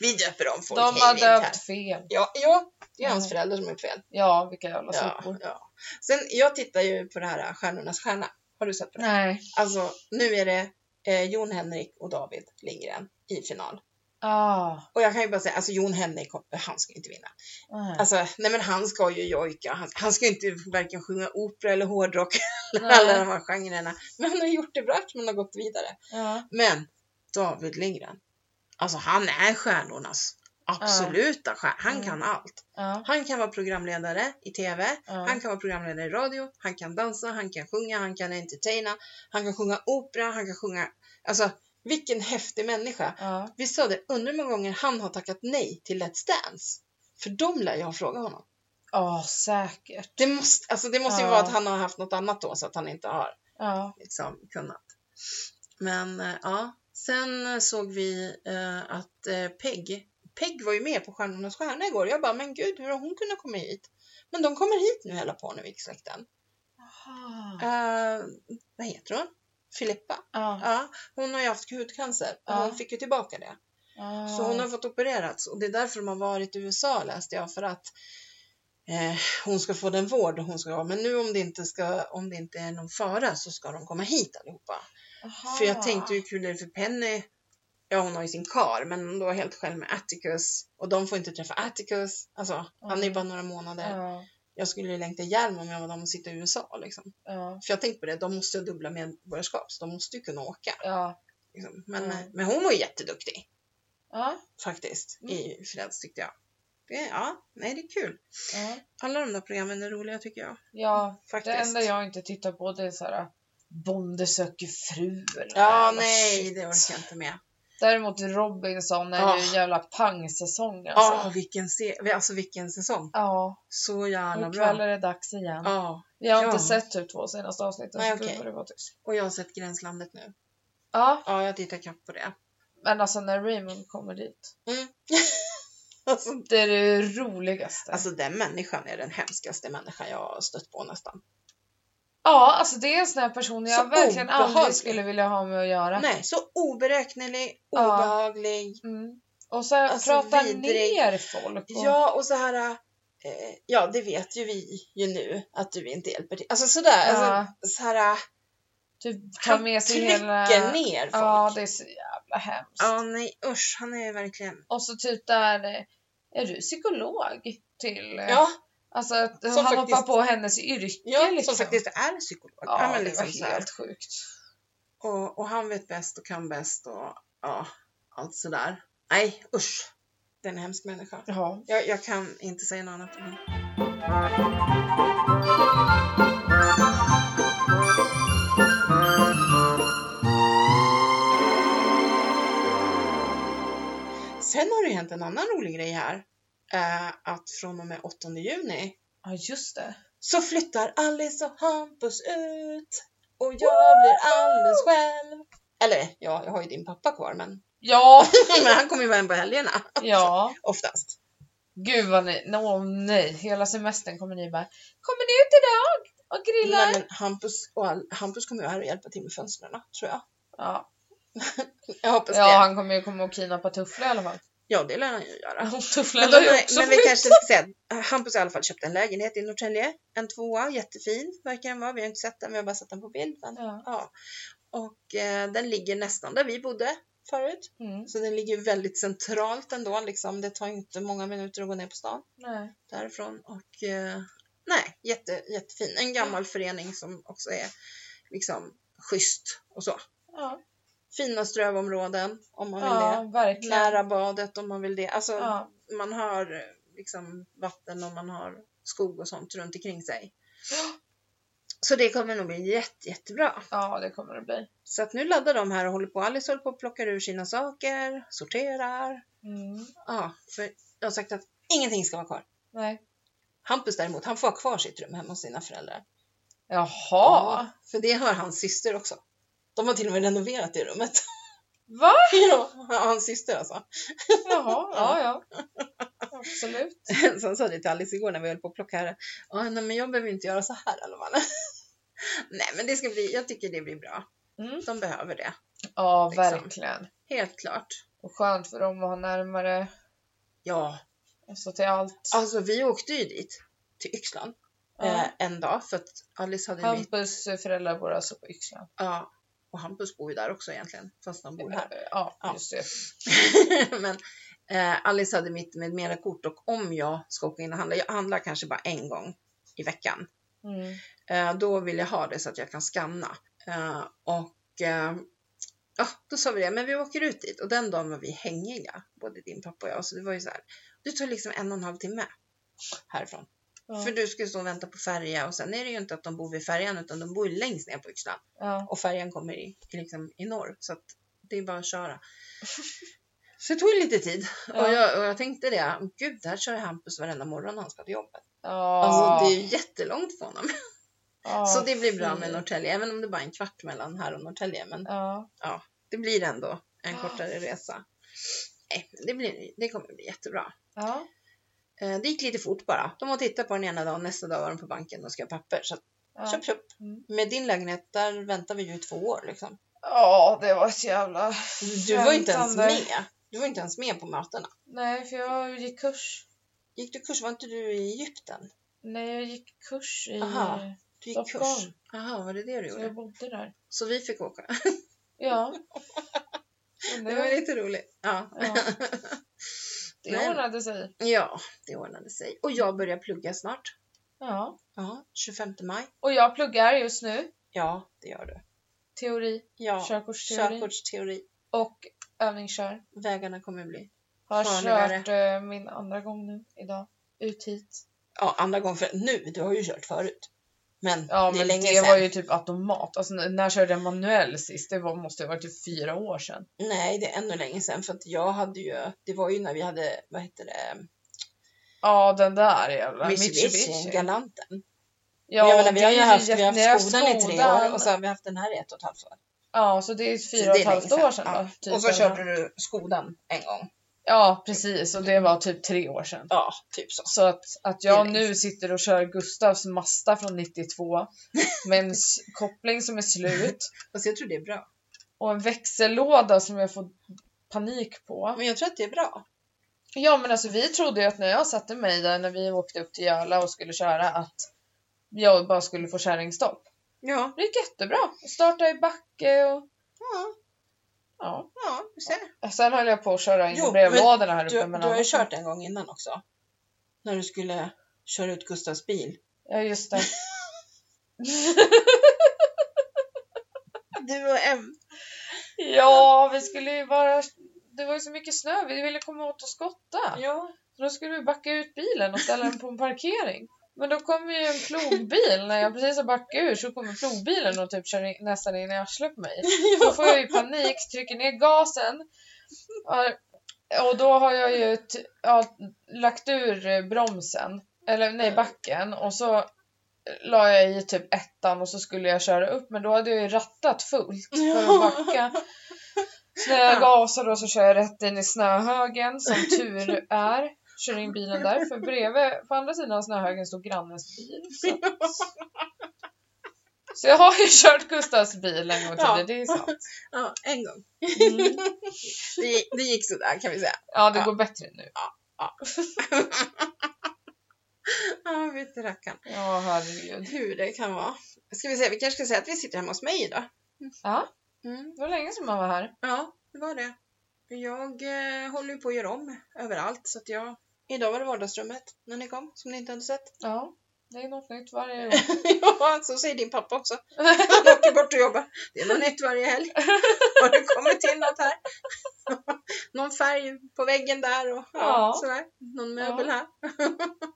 Speaker 2: Vi döper om folk
Speaker 1: De
Speaker 2: hej
Speaker 1: har
Speaker 2: vilt här.
Speaker 1: döpt fel.
Speaker 2: Ja, ja, det är hans
Speaker 1: Ja.
Speaker 2: föräldrar som har gjort fel.
Speaker 1: Ja, vilka jävla
Speaker 2: Ja,
Speaker 1: sopor.
Speaker 2: ja. Sen, jag tittar ju på det här äh, Stjärnornas stjärna. Har du sett på det?
Speaker 1: Nej.
Speaker 2: Alltså, nu är det eh, Jon Henrik och David Lindgren i final.
Speaker 1: Ah,
Speaker 2: Och jag kan ju bara säga, alltså Jon Henrik, han ska ju inte vinna.
Speaker 1: nej.
Speaker 2: Alltså, nej men han ska ju jojka. Han, han ska ju inte varken sjunga opera eller hårdrock, eller
Speaker 1: Nej.
Speaker 2: alla de här genrerna. Men han har gjort det bra eftersom han har gått vidare.
Speaker 1: ja.
Speaker 2: Men David Lindgren, alltså han är stjärnornas absoluta stjärna. Han
Speaker 1: Mm.
Speaker 2: kan allt.
Speaker 1: Ja.
Speaker 2: Han kan vara programledare i TV,
Speaker 1: Ja.
Speaker 2: han kan vara programledare i radio, han kan dansa, han kan sjunga, han kan entertaina, han kan sjunga opera, han kan sjunga... Alltså, vilken häftig människa!
Speaker 1: Ja.
Speaker 2: Vi sa det, undrar hur många gånger han har tackat nej till Let's Dance? För de lär ju ha frågat honom.
Speaker 1: Ja, säkert.
Speaker 2: Det måste, alltså det måste ju
Speaker 1: Ja.
Speaker 2: vara att han har haft något annat då, så att han inte har
Speaker 1: Ja.
Speaker 2: liksom kunnat. Men eh, ja, sen eh, såg vi eh, att eh, Peg, Peg var ju med på Stjärnornas stjärna igår. Jag bara, men gud, hur har hon kunnat komma hit? Men de kommer hit nu hela Parnevik-släkten.
Speaker 1: Ah.
Speaker 2: Eh, vad heter hon? Filippa.
Speaker 1: Ja.
Speaker 2: Ja, hon har ju haft hudcancer och hon
Speaker 1: Ja.
Speaker 2: fick ju tillbaka det.
Speaker 1: Ah.
Speaker 2: Så hon har fått opererats och det är därför de har varit i USA läste jag för att eh, hon ska få den vård hon ska ha. Men nu om det inte, ska, om det inte är någon fara så ska de komma hit allihopa.
Speaker 1: Aha.
Speaker 2: För jag tänkte hur kul är det för Penny? Ja, hon har ju sin kar, men hon då är helt själv med Atticus och de får inte träffa Atticus. Alltså, han
Speaker 1: Ah.
Speaker 2: är ju bara några månader.
Speaker 1: Ja.
Speaker 2: Jag skulle ju längta ihjäl mig om jag var dem och sitta i USA liksom.
Speaker 1: Ja.
Speaker 2: För jag tänkte på det, de måste ju ha dubbla medborgarskap, så de måste ju kunna åka.
Speaker 1: Ja.
Speaker 2: Liksom. Men,
Speaker 1: Mm.
Speaker 2: men hon var ju jätteduktig
Speaker 1: Ja.
Speaker 2: faktiskt
Speaker 1: Mm.
Speaker 2: i Friends tyckte jag. Det, ja, nej det är kul.
Speaker 1: Ja.
Speaker 2: Alla de där programmen är roliga tycker jag.
Speaker 1: ja. Det
Speaker 2: Faktiskt.
Speaker 1: enda jag inte tittar på det är såhär Bonde söker fru eller
Speaker 2: Ja,
Speaker 1: något
Speaker 2: nej,
Speaker 1: Ah, shit.
Speaker 2: det orkar jag inte med.
Speaker 1: Däremot Robinson är ju en
Speaker 2: Ah.
Speaker 1: jävla pangsäsong alltså.
Speaker 2: Ja, vilken, se- alltså, vilken säsong.
Speaker 1: Ja,
Speaker 2: Så jävla
Speaker 1: och
Speaker 2: bra.
Speaker 1: kväll är det dags igen.
Speaker 2: Ja,
Speaker 1: Jag har
Speaker 2: Ja.
Speaker 1: inte sett typ två senaste avsnitten
Speaker 2: Nej,
Speaker 1: så då
Speaker 2: okej.
Speaker 1: får det vara tyst.
Speaker 2: Och jag har sett Gränslandet nu.
Speaker 1: Ja,
Speaker 2: Ja, jag tittar kapp på det.
Speaker 1: men alltså när Raymond kommer dit.
Speaker 2: Alltså,
Speaker 1: Det är det roligaste.
Speaker 2: alltså den människan är den hemskaste människan jag har stött på nästan.
Speaker 1: ja, alltså det är en sån här person jag
Speaker 2: Så
Speaker 1: verkligen aldrig
Speaker 2: obehaglig.
Speaker 1: skulle vilja ha med att göra.
Speaker 2: Nej, så oberäknelig,
Speaker 1: Ja.
Speaker 2: obehaglig.
Speaker 1: Mm. Och så
Speaker 2: Alltså,
Speaker 1: prata
Speaker 2: vidrig.
Speaker 1: ner folk. Och,
Speaker 2: Ja, och så här. Eh, ja, det vet ju vi ju nu att du inte hjälper till. Alltså sådär. Alltså, så här, eh,
Speaker 1: Typ ta
Speaker 2: han
Speaker 1: med sig
Speaker 2: trycker
Speaker 1: hela...
Speaker 2: ner folk.
Speaker 1: Ja,
Speaker 2: Ja,
Speaker 1: det är så jävla hemskt.
Speaker 2: nej usch, han är verkligen...
Speaker 1: Och så typ där, eh, är du psykolog? Till eh,
Speaker 2: Ja,
Speaker 1: Alltså att han
Speaker 2: Som
Speaker 1: hoppar
Speaker 2: faktiskt-
Speaker 1: på hennes yrke
Speaker 2: Ja,
Speaker 1: liksom.
Speaker 2: som faktiskt är psykolog.
Speaker 1: ja,
Speaker 2: Ja, men liksom
Speaker 1: det
Speaker 2: så
Speaker 1: var
Speaker 2: här.
Speaker 1: helt sjukt.
Speaker 2: Och, och han vet bäst och kan bäst och ja, allt sådär. Nej, usch. Det är en hemsk människa.
Speaker 1: Ja.
Speaker 2: Jag, jag kan inte säga något annat om honom. Sen har det hänt en annan rolig grej här. Eh, att från och med 8 juni
Speaker 1: ja, just det.
Speaker 2: så flyttar Alice och Hampus ut och jag blir alldeles själv. Eller ja, jag har ju din pappa kvar men,
Speaker 1: Ja,
Speaker 2: men han kommer ju vara hem på helgerna
Speaker 1: ja.
Speaker 2: oftast.
Speaker 1: Gud vad ni, no, åh nej, hela semestern kommer ni bara Kommer ni ut idag och grillar?
Speaker 2: Nej, men Hampus, och Al- Hampus kommer ju här och hjälpa till med fönstren tror jag.
Speaker 1: Ja.
Speaker 2: Jag hoppas
Speaker 1: ja,
Speaker 2: det.
Speaker 1: han kommer ju komma och kidnappa Tuffle i alla fall.
Speaker 2: Ja, det lär han ju göra.
Speaker 1: Tuffle
Speaker 2: Men,
Speaker 1: lär
Speaker 2: de,
Speaker 1: ju också
Speaker 2: men vi
Speaker 1: flytta.
Speaker 2: kanske ska säga att Hampus har i alla fall köpt en lägenhet i Norrtälje. En tvåa, jättefin verkar den vara. Vi har inte sett den, vi har bara sett den på bild. Men,
Speaker 1: Ja.
Speaker 2: ja. Och eh, den ligger nästan där vi bodde förut.
Speaker 1: Mm,
Speaker 2: Så den ligger väldigt centralt ändå. Liksom. Det tar inte många minuter att gå ner på stan
Speaker 1: nej.
Speaker 2: därifrån. Och, eh, nej, jätte, jättefin. En gammal förening som också är liksom, schysst och så.
Speaker 1: Ja,
Speaker 2: Fina strövområden om man vill
Speaker 1: ja
Speaker 2: det.
Speaker 1: verkligen.
Speaker 2: Nära badet om man vill det. Alltså,
Speaker 1: Ja.
Speaker 2: Man har eh, liksom, vatten och man har skog och sånt runt omkring sig.
Speaker 1: Ja.
Speaker 2: Så det kommer nog bli jätte, jättebra.
Speaker 1: ja, det kommer det bli.
Speaker 2: Så att nu laddar de här och håller på. Alice håller på och plockar ur sina saker, sorterar.
Speaker 1: Mm,
Speaker 2: Ja, för jag har sagt att ingenting ska vara kvar.
Speaker 1: nej.
Speaker 2: Hampus däremot, han får ha kvar sitt rum hemma hos sina föräldrar.
Speaker 1: Jaha.
Speaker 2: För det har hans syster också. De har till och med renoverat det rummet.
Speaker 1: Va?
Speaker 2: ja, hans syster alltså.
Speaker 1: Jaha, ja, ja. Absolut.
Speaker 2: Så han sa det till Alice igår när vi höll på att plocka här. Ja, nej, men jag behöver inte göra så här i alla fall. nej, men det ska bli, jag tycker det blir bra.
Speaker 1: Mm.
Speaker 2: De behöver det.
Speaker 1: Ja,
Speaker 2: Liksom.
Speaker 1: verkligen.
Speaker 2: Helt klart.
Speaker 1: Och skönt för dem att ha närmare
Speaker 2: Ja,
Speaker 1: alltså, till allt.
Speaker 2: alltså vi åkte ju dit till Yxlan
Speaker 1: Ja.
Speaker 2: eh, en dag för att Alice hade ju mitt,
Speaker 1: Hampus föräldrar bor alltså på Yxlan.
Speaker 2: ja, och Hampus bor ju där också egentligen, fast han bor här.
Speaker 1: Ja,
Speaker 2: Eh, Ja.
Speaker 1: just det.
Speaker 2: Men eh, Alice hade mitt med mera kort och om jag ska åka in och handla, jag handlar kanske bara en gång i veckan,
Speaker 1: Mm.
Speaker 2: eh, då vill jag ha det så att jag kan skanna. Eh, och eh, ja, då sa vi det, men vi åker ut dit och den dagen var vi hängiga, både din pappa och jag, så det var ju så här, det tar liksom en och en halv timme härifrån.
Speaker 1: Ja.
Speaker 2: För du ska ju stå och vänta på färja och sen är det ju inte att de bor vid färjan utan de bor ju längst ner på Yxlan
Speaker 1: Ja.
Speaker 2: och färjan kommer i, i liksom, i norr. Så att det är bara att köra. Så det tog lite tid
Speaker 1: Ja.
Speaker 2: och, jag, och jag tänkte det, gud där kör Hampus varenda morgon när han ska till jobbet.
Speaker 1: Ja.
Speaker 2: Alltså det är ju jättelångt för honom.
Speaker 1: Ja,
Speaker 2: så det blir bra
Speaker 1: fy.
Speaker 2: med Norrtälje, även om det bara är en kvart mellan här och Norrtälje. Men
Speaker 1: Ja.
Speaker 2: det blir ändå en
Speaker 1: Ja.
Speaker 2: kortare resa. Nej, men det, blir, det kommer bli jättebra.
Speaker 1: Ja.
Speaker 2: Eh, Det gick lite fort bara. De har tittat på den ena dagen, nästa dag var de på banken och ska ha papper. Så
Speaker 1: Ja.
Speaker 2: köp, köp.
Speaker 1: Mm.
Speaker 2: Med din lägenhet, där väntar vi ju i två år liksom.
Speaker 1: ja, det var så jävla...
Speaker 2: Du var ju inte ens
Speaker 1: Skämtande.
Speaker 2: med. Du var inte ens med på mötena.
Speaker 1: Nej, för jag gick kurs.
Speaker 2: Gick du kurs? Var inte du i Egypten?
Speaker 1: Nej, jag gick kurs i...
Speaker 2: Aha. Du gick kurs.
Speaker 1: Stockholm.
Speaker 2: Jaha, var det det du
Speaker 1: Så jag
Speaker 2: gjorde?
Speaker 1: bodde där.
Speaker 2: Så vi fick åka.
Speaker 1: Ja. Men
Speaker 2: Det var lite roligt. Ja,
Speaker 1: Ja. Det
Speaker 2: Nej.
Speaker 1: ordnade sig.
Speaker 2: ja det ordnade sig. Och jag börjar plugga snart.
Speaker 1: Ja.
Speaker 2: Ja, 25 maj.
Speaker 1: Och jag pluggar just nu.
Speaker 2: Ja, det gör du.
Speaker 1: Teori,
Speaker 2: Ja,
Speaker 1: körkortsteori
Speaker 2: körkortsteori.
Speaker 1: och övningskör.
Speaker 2: Vägarna kommer bli.
Speaker 1: Har
Speaker 2: Farligare.
Speaker 1: kört eh, min andra gång nu idag. Ut hit.
Speaker 2: Ja, andra gången för nu. Du har ju kört förut. Men
Speaker 1: Ja
Speaker 2: det är
Speaker 1: men
Speaker 2: länge
Speaker 1: det
Speaker 2: sedan.
Speaker 1: var ju typ automat. Alltså när när körde jag manuell sist? Det var, måste ha varit typ fyra år sedan.
Speaker 2: Nej, det är ännu länge sedan. För att jag hade ju, det var ju när vi hade, vad heter det,
Speaker 1: Ja den där jävla
Speaker 2: Mitsubishi,
Speaker 1: Mitsubishi.
Speaker 2: Galanten.
Speaker 1: Ja,
Speaker 2: jag menar, vi har ju
Speaker 1: det är
Speaker 2: haft,
Speaker 1: jätte-
Speaker 2: vi har
Speaker 1: ni
Speaker 2: haft skolan i tre år
Speaker 1: skolan.
Speaker 2: och så har vi haft den här i ett och ett halvt år.
Speaker 1: Ja så det är
Speaker 2: Så
Speaker 1: fyra och
Speaker 2: det
Speaker 1: ett
Speaker 2: är
Speaker 1: halvt
Speaker 2: länge
Speaker 1: år sedan
Speaker 2: Ja.
Speaker 1: då. Typ,
Speaker 2: och så
Speaker 1: eller-
Speaker 2: körde du skolan en gång.
Speaker 1: Ja precis och det var typ tre år sedan.
Speaker 2: Ja, typ så.
Speaker 1: Så att, att
Speaker 2: Det är
Speaker 1: jag
Speaker 2: länge
Speaker 1: nu sitter och kör Gustavs Masta från 92 med en s- koppling som är slut
Speaker 2: Fast jag tror det är bra.
Speaker 1: och en växellåda som jag får panik på.
Speaker 2: Men jag tror att det är bra.
Speaker 1: Ja men alltså vi trodde ju att när jag satte mig där när vi åkte upp till Göla och skulle köra att jag bara skulle få kärringstopp.
Speaker 2: Ja,
Speaker 1: Det gick jättebra. Starta i backe och
Speaker 2: ja,
Speaker 1: ja.
Speaker 2: ja du ser.
Speaker 1: Och Sen höll jag på att köra in
Speaker 2: Jo,
Speaker 1: i brevlådorna här uppe
Speaker 2: Du,
Speaker 1: men
Speaker 2: du har ju
Speaker 1: annars-
Speaker 2: kört en gång innan också. När du skulle kör ut Gustavs bil.
Speaker 1: Ja, just det.
Speaker 2: Du och Ev,
Speaker 1: ja, vi skulle ju bara... Det var ju så mycket snö, vi ville komma åt och skotta.
Speaker 2: ja.
Speaker 1: Så då skulle vi backa ut bilen och ställa den på en parkering. Men då kommer ju en plogbil, när jag precis har backat ur så kommer plogbilen och typ kör in, nästan in i arslet på mig. Då får jag ju panik, trycker ner gasen. Ja, Och då har jag ju t- ja, lagt ur eh, bromsen, eller nej backen och så la jag i typ ettan och så skulle jag köra upp men då hade jag ju rattat fullt för att backa. Så när jag gasar då så kör jag rätt in i snöhögen som tur är. Kör in bilen där för bredvid, på andra sidan av snöhögen stod grannens bil. Så, så jag har ju kört Gustavs bil en gång
Speaker 2: Ja.
Speaker 1: tidigare, det är sant.
Speaker 2: ja, en gång.
Speaker 1: Mm.
Speaker 2: Det, gick- det gick sådär kan vi säga.
Speaker 1: Ja, det
Speaker 2: Ja.
Speaker 1: går bättre nu.
Speaker 2: Ja, vet du rackarn.
Speaker 1: Ja, herregud.
Speaker 2: Hur det kan vara. Ska vi säga, vi kanske ska säga att vi sitter hemma hos mig idag.
Speaker 1: Ja,
Speaker 2: Mm.
Speaker 1: det var länge sedan man var här.
Speaker 2: Ja, det var det. Jag eh, håller ju på att göra om överallt så att jag... Idag var det vardagsrummet när ni kom, som ni inte hade sett.
Speaker 1: Ja, det är något nytt varje år.
Speaker 2: ja, så säger din pappa också. Han åker bort och jobbar. Det är något nytt varje helg. Har det kommit till något här? Någon färg på väggen där och ja,
Speaker 1: Ja.
Speaker 2: sådär. Någon möbel här.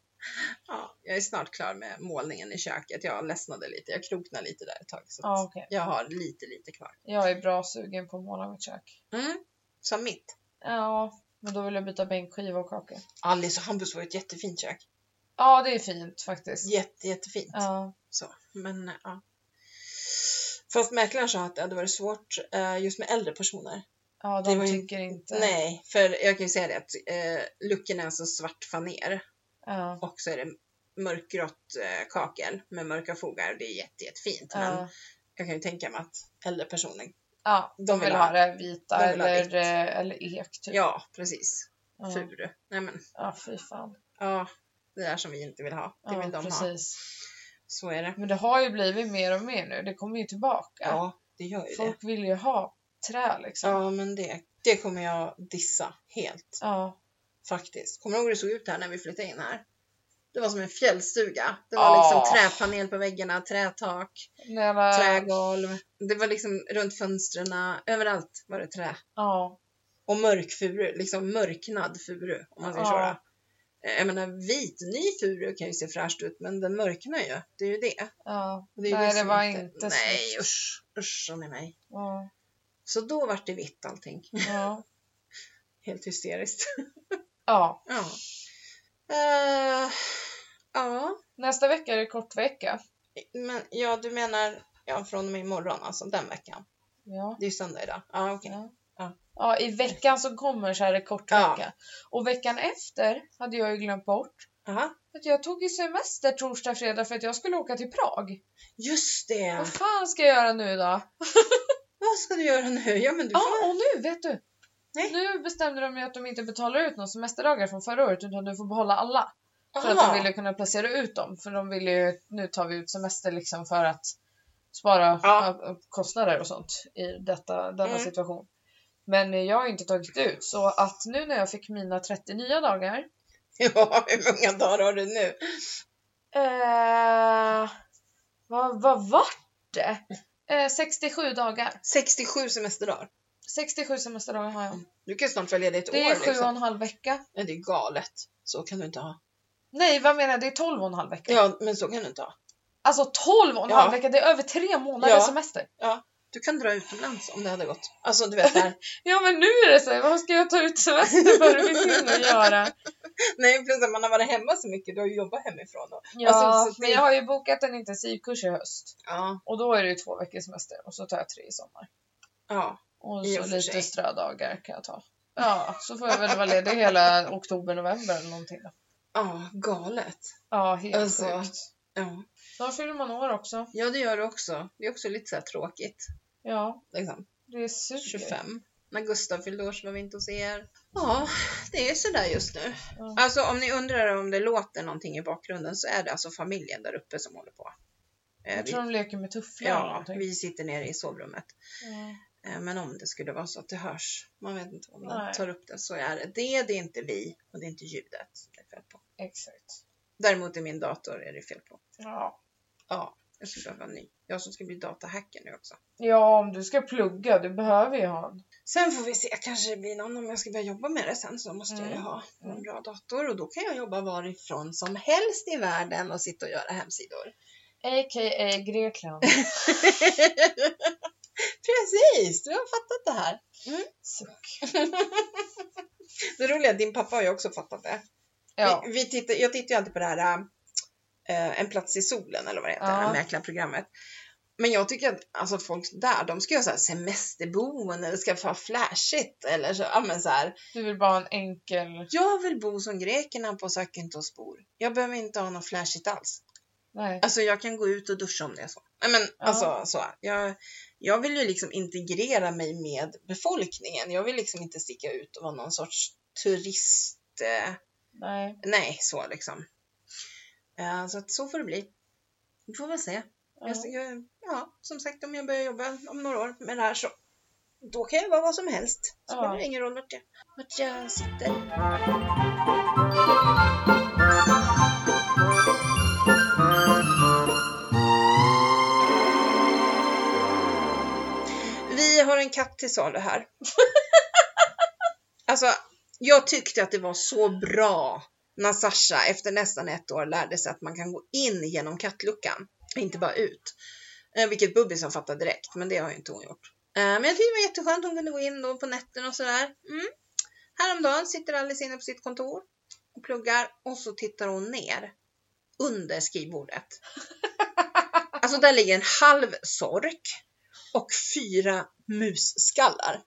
Speaker 2: ja, jag är snart klar med målningen i köket. Jag ledsnade lite. Jag kroknade lite där ett tag. Så att
Speaker 1: Ja, okej.
Speaker 2: Jag har lite, lite kvar.
Speaker 1: Jag är bra sugen på att måla mitt kök.
Speaker 2: Mm. Som mitt.
Speaker 1: Ja, men då vill jag byta bänkskiva och kakor.
Speaker 2: Alice och Hampus var ett jättefint kök.
Speaker 1: Ja, det är fint faktiskt.
Speaker 2: Jätte, jättefint.
Speaker 1: Ja,
Speaker 2: Så, men ja. Fast mäklaren sa att det hade varit svårt eh, just med äldre personer.
Speaker 1: ja de
Speaker 2: Det var ju-
Speaker 1: tycker inte...
Speaker 2: Nej, för jag kan ju säga det att eh, luckorna är så svart faner
Speaker 1: Ja,
Speaker 2: och så är det mörkgrått eh, kakel med mörka fogar och det är jätte, jättefint. Men
Speaker 1: ja.
Speaker 2: jag kan ju tänka mig att äldre personer,
Speaker 1: ja de vill ha det vita
Speaker 2: de vill ha
Speaker 1: eller,
Speaker 2: vitt.
Speaker 1: eh, eller ek typ.
Speaker 2: ja precis,
Speaker 1: Ja.
Speaker 2: furu. Nej men,
Speaker 1: ja, fy fan.
Speaker 2: ja, det där som vi inte vill ha, det vill
Speaker 1: Ja,
Speaker 2: de ha.
Speaker 1: precis.
Speaker 2: Så är det.
Speaker 1: Men det har ju blivit mer och mer nu. Det kommer ju tillbaka.
Speaker 2: Ja, det gör ju det.
Speaker 1: Folk vill ju ha trä liksom.
Speaker 2: Ja, men det, det kommer jag dissa helt
Speaker 1: Ja.
Speaker 2: faktiskt. Kommer du ihåg hur det såg ut här när vi flyttade in här? Det var som en fjällstuga. Det var
Speaker 1: Ja.
Speaker 2: liksom träpanel på väggarna, trätak.
Speaker 1: När jag-
Speaker 2: trägolv. Det var liksom runt fönstren, överallt var det trä.
Speaker 1: Ja.
Speaker 2: Och mörk furu, liksom mörknad furu om man säger så.
Speaker 1: Ja.
Speaker 2: då. Eh, Jag menar vit, ny furu kan ju se fräscht ut men den mörknar ju, det är ju det.
Speaker 1: ja.
Speaker 2: Och det är ju
Speaker 1: Nej, det
Speaker 2: som
Speaker 1: var inte
Speaker 2: Nej
Speaker 1: snyggt.
Speaker 2: usch, usch sa ni mig.
Speaker 1: Ja.
Speaker 2: Så då vart det vitt allting.
Speaker 1: Ja.
Speaker 2: Helt hysteriskt.
Speaker 1: ja.
Speaker 2: ja. Eh, ja,
Speaker 1: Nästa vecka är det kortvecka.
Speaker 2: men ja du menar ja, från och med imorgon, alltså den veckan.
Speaker 1: Ja.
Speaker 2: Det är ju söndag idag. Ja, okej.
Speaker 1: Ja.
Speaker 2: Ja.
Speaker 1: Ja, i veckan som kommer så är det kortvecka.
Speaker 2: Ja.
Speaker 1: Och veckan efter hade jag ju glömt bort
Speaker 2: Aha.
Speaker 1: att jag tog ju semester torsdag, fredag för att jag skulle åka till Prag.
Speaker 2: Just det!
Speaker 1: Vad fan ska jag göra nu då?
Speaker 2: Vad ska du göra nu? Ja, men du
Speaker 1: Ja,
Speaker 2: får...
Speaker 1: och nu vet du!
Speaker 2: Nej.
Speaker 1: Nu bestämde de ju att de inte betalar ut några semesterdagar från förra året utan du får behålla alla. För att
Speaker 2: Aha.
Speaker 1: de ville kunna placera ut dem. För de ville ju, nu tar vi ut semester liksom för att spara
Speaker 2: Ja.
Speaker 1: ja, kostnader och sånt i detta, denna
Speaker 2: Mm.
Speaker 1: situation. Men jag har ju inte tagit ut så att nu när jag fick mina 30 nya dagar
Speaker 2: Ja, hur många dagar har du nu?
Speaker 1: Eh, vad, vad vart det? Eh, 67 dagar.
Speaker 2: 67 semesterdagar.
Speaker 1: 67 semesterdagar har jag.
Speaker 2: Du kan ju snart följa det ett
Speaker 1: Det
Speaker 2: år.
Speaker 1: är sju och
Speaker 2: liksom.
Speaker 1: en halv vecka.
Speaker 2: Nej, det är galet. Så kan du inte ha.
Speaker 1: Nej, vad menar jag? Det är 12 och en halv vecka.
Speaker 2: Ja, men så kan du inte ha.
Speaker 1: Alltså 12 och en
Speaker 2: Ja.
Speaker 1: halv vecka, det är över tre månader
Speaker 2: Ja.
Speaker 1: semester.
Speaker 2: Du kan dra utomlands om det hade gått. Alltså, du vet det här.
Speaker 1: Ja men nu är det så, här, vad ska jag ta ut semester för? Det finns inget att göra.
Speaker 2: Nej, plus att man har varit hemma så mycket. Du har ju jobbat hemifrån. Och...
Speaker 1: Ja,
Speaker 2: Alltså, så det-
Speaker 1: men jag har ju bokat en intensivkurs i höst.
Speaker 2: Ja,
Speaker 1: Och då är det ju två veckors semester och så tar jag tre i sommar.
Speaker 2: ja.
Speaker 1: Och
Speaker 2: I
Speaker 1: så
Speaker 2: och för
Speaker 1: lite
Speaker 2: sig.
Speaker 1: strödagar kan jag ta. Ja, så får jag väl vara ledig hela oktober, november eller någonting då.
Speaker 2: Ja, galet.
Speaker 1: Ja, helt
Speaker 2: Alltså.
Speaker 1: sjukt.
Speaker 2: Ja.
Speaker 1: Snart fyller man år också.
Speaker 2: ja, det gör du också. Det är också lite så här tråkigt.
Speaker 1: Ja,
Speaker 2: Liksom.
Speaker 1: det suger.
Speaker 2: 25. När Gustav fyllde år så var vi inte hos er. Ja, det är sådär just nu.
Speaker 1: Ja.
Speaker 2: Alltså om ni undrar om det låter någonting i bakgrunden så är det alltså familjen där uppe som håller på. Eh,
Speaker 1: Jag
Speaker 2: vi,
Speaker 1: tror de leker med tufflar eller
Speaker 2: ja,
Speaker 1: någonting.
Speaker 2: vi sitter nere i sovrummet.
Speaker 1: Ja.
Speaker 2: Eh, men om det skulle vara så att det hörs, man vet inte om de
Speaker 1: Nej.
Speaker 2: tar upp det, så är det det. Det är inte vi och det är inte ljudet. Det är fel på.
Speaker 1: Exakt.
Speaker 2: Däremot i min dator är det fel på.
Speaker 1: Ja.
Speaker 2: Ja, jag skulle behöva en ny. Jag som ska bli datahacker nu också.
Speaker 1: ja, om du ska plugga, du behöver ju ha en.
Speaker 2: Sen får vi se, kanske det blir någon om jag ska börja jobba med det sen så måste jag ju
Speaker 1: Mm.
Speaker 2: ha en
Speaker 1: Mm.
Speaker 2: bra dator och då kan jag jobba varifrån som helst i världen och sitta och göra hemsidor.
Speaker 1: A.k.a. Grekland.
Speaker 2: Precis, du har fattat det här.
Speaker 1: Suck.
Speaker 2: Det roliga är att din pappa har ju också fattat det.
Speaker 1: Ja.
Speaker 2: Vi, vi tittar, jag tittar ju alltid på det här eh, En plats i solen eller vad det heter,
Speaker 1: Ja.
Speaker 2: det här mäklarprogrammet. Men jag tycker att alltså, folk där, de ska göra så här semesterboende, det ska vara flashigt eller så, ja men så här.
Speaker 1: Du vill bara ha en enkel...
Speaker 2: Jag vill bo som grekerna på Zakynthos bor. Jag behöver inte ha något flashigt alls.
Speaker 1: Nej.
Speaker 2: Alltså jag kan gå ut och duscha om det är så. Nej men alltså så. Jag, jag vill ju liksom integrera mig med befolkningen. Jag vill liksom inte sticka ut och vara någon sorts turist. Eh,
Speaker 1: Nej.
Speaker 2: nej, så liksom. Eh, så att så får det bli. Vi får väl se.
Speaker 1: Ja.
Speaker 2: Jag, jag, ja, som sagt om jag börjar jobba om några år med det här så då kan jag vara vad som helst.
Speaker 1: Ja.
Speaker 2: Spelar ingen roll vart jag, vart jag sitter. Vi har en katt till salu här. alltså, jag tyckte att det var så bra när Sasha efter nästan ett år lärde sig att man kan gå in genom kattluckan, inte bara ut. Eh, vilket Bubbisen fattade direkt, men det har ju inte hon gjort. Eh, men jag tyckte det var jätteskönt, hon kunde gå in då på nätterna och sådär. Mm. Häromdagen sitter Alice inne på sitt kontor och pluggar och så tittar hon ner under skrivbordet. Alltså där ligger en halv sork och fyra musskallar.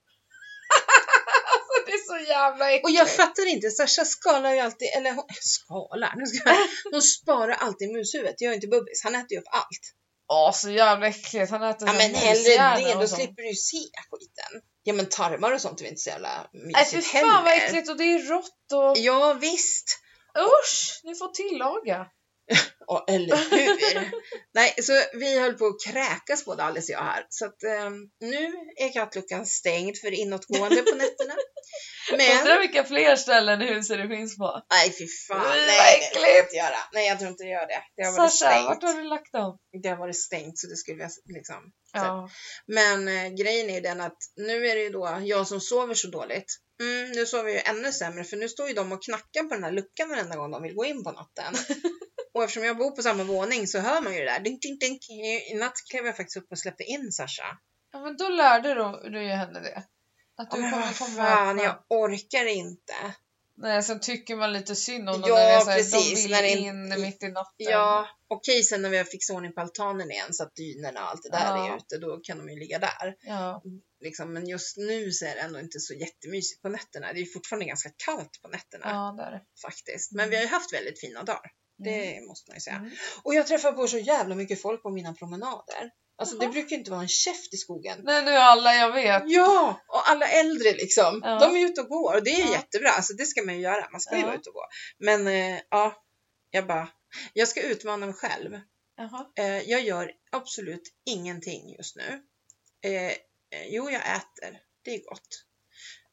Speaker 1: Det är så jävla äckligt.
Speaker 2: Och jag fattar inte, Sasha skalar ju alltid, eller hon, skalar, nu ska jag, hon sparar alltid mushuvudet. Det gör ju inte Bubbis, han äter ju upp allt.
Speaker 1: Åh, så jävla äckligt. Han äter
Speaker 2: Ja
Speaker 1: så
Speaker 2: men
Speaker 1: myshjärnor
Speaker 2: hellre det,
Speaker 1: och
Speaker 2: då
Speaker 1: sånt.
Speaker 2: slipper du ju se skiten. Ja men tarmar och sånt är väl inte så jävla
Speaker 1: Nej fy
Speaker 2: mysigt
Speaker 1: fan vad äckligt och det är rått och
Speaker 2: Ja visst,
Speaker 1: usch! Ni får tillaga.
Speaker 2: ja, eller hur? Nej, så vi höll på att kräkas både Alice och jag här. Så att eh, nu är kattluckan stängd för inåtgående på nätterna. Men
Speaker 1: Undrar vilka fler ställen i huset det finns på.
Speaker 2: Nej fy fan,
Speaker 1: Uy,
Speaker 2: nej,
Speaker 1: vad
Speaker 2: nej det kan jag
Speaker 1: äckligt.
Speaker 2: inte göra. Nej jag tror inte det gör det. Det har varit
Speaker 1: Sasha, vart har
Speaker 2: stängt.
Speaker 1: du lagt dem?
Speaker 2: Det har varit stängt så det skulle jag liksom.
Speaker 1: Ja.
Speaker 2: Men eh, grejen är ju den att nu är det ju då jag som sover så dåligt. Mm, nu sover jag ju ännu sämre för nu står ju de och knackar på den här luckan varenda gång de vill gå in på natten. och eftersom jag bor på samma våning så hör man ju det där. Dink, dink, dink. I- I natt klev jag faktiskt upp och släppte in Sasha.
Speaker 1: ja men då lärde du, du ju henne det. Att
Speaker 2: Ja,
Speaker 1: du
Speaker 2: men
Speaker 1: kommer
Speaker 2: vad
Speaker 1: kommer
Speaker 2: fan,
Speaker 1: öppna.
Speaker 2: jag orkar inte.
Speaker 1: Nej sen tycker man lite synd om dem
Speaker 2: Ja,
Speaker 1: när det är så här,
Speaker 2: precis,
Speaker 1: de vill
Speaker 2: när det är-
Speaker 1: in mitt i natten.
Speaker 2: Ja, okej sen när vi har fixat ordning på altanen igen så att dynorna och allt det där
Speaker 1: Ja.
Speaker 2: är ute, då kan de ju ligga där.
Speaker 1: Ja.
Speaker 2: Liksom, men just nu så är det ändå inte så jättemysigt på nätterna. Det är ju fortfarande ganska kallt på nätterna
Speaker 1: ja, där. Mm.
Speaker 2: faktiskt. Men vi har ju haft väldigt fina dagar, det måste man ju säga.
Speaker 1: Mm.
Speaker 2: Och jag träffar på så jävla mycket folk på mina promenader. Alltså det
Speaker 1: Jaha.
Speaker 2: brukar ju inte vara en käft i skogen.
Speaker 1: Nej nu är alla jag vet.
Speaker 2: Ja, och alla äldre liksom.
Speaker 1: Ja.
Speaker 2: De är ute och går och det är ju
Speaker 1: Ja.
Speaker 2: jättebra. Alltså det ska man ju göra. Man ska ju
Speaker 1: Ja.
Speaker 2: vara ute och gå. Men eh, ja, jag bara, jag ska utmana mig själv.
Speaker 1: Jaha.
Speaker 2: Eh, jag gör absolut ingenting just nu. Eh, eh, jo, jag äter. Det är gott.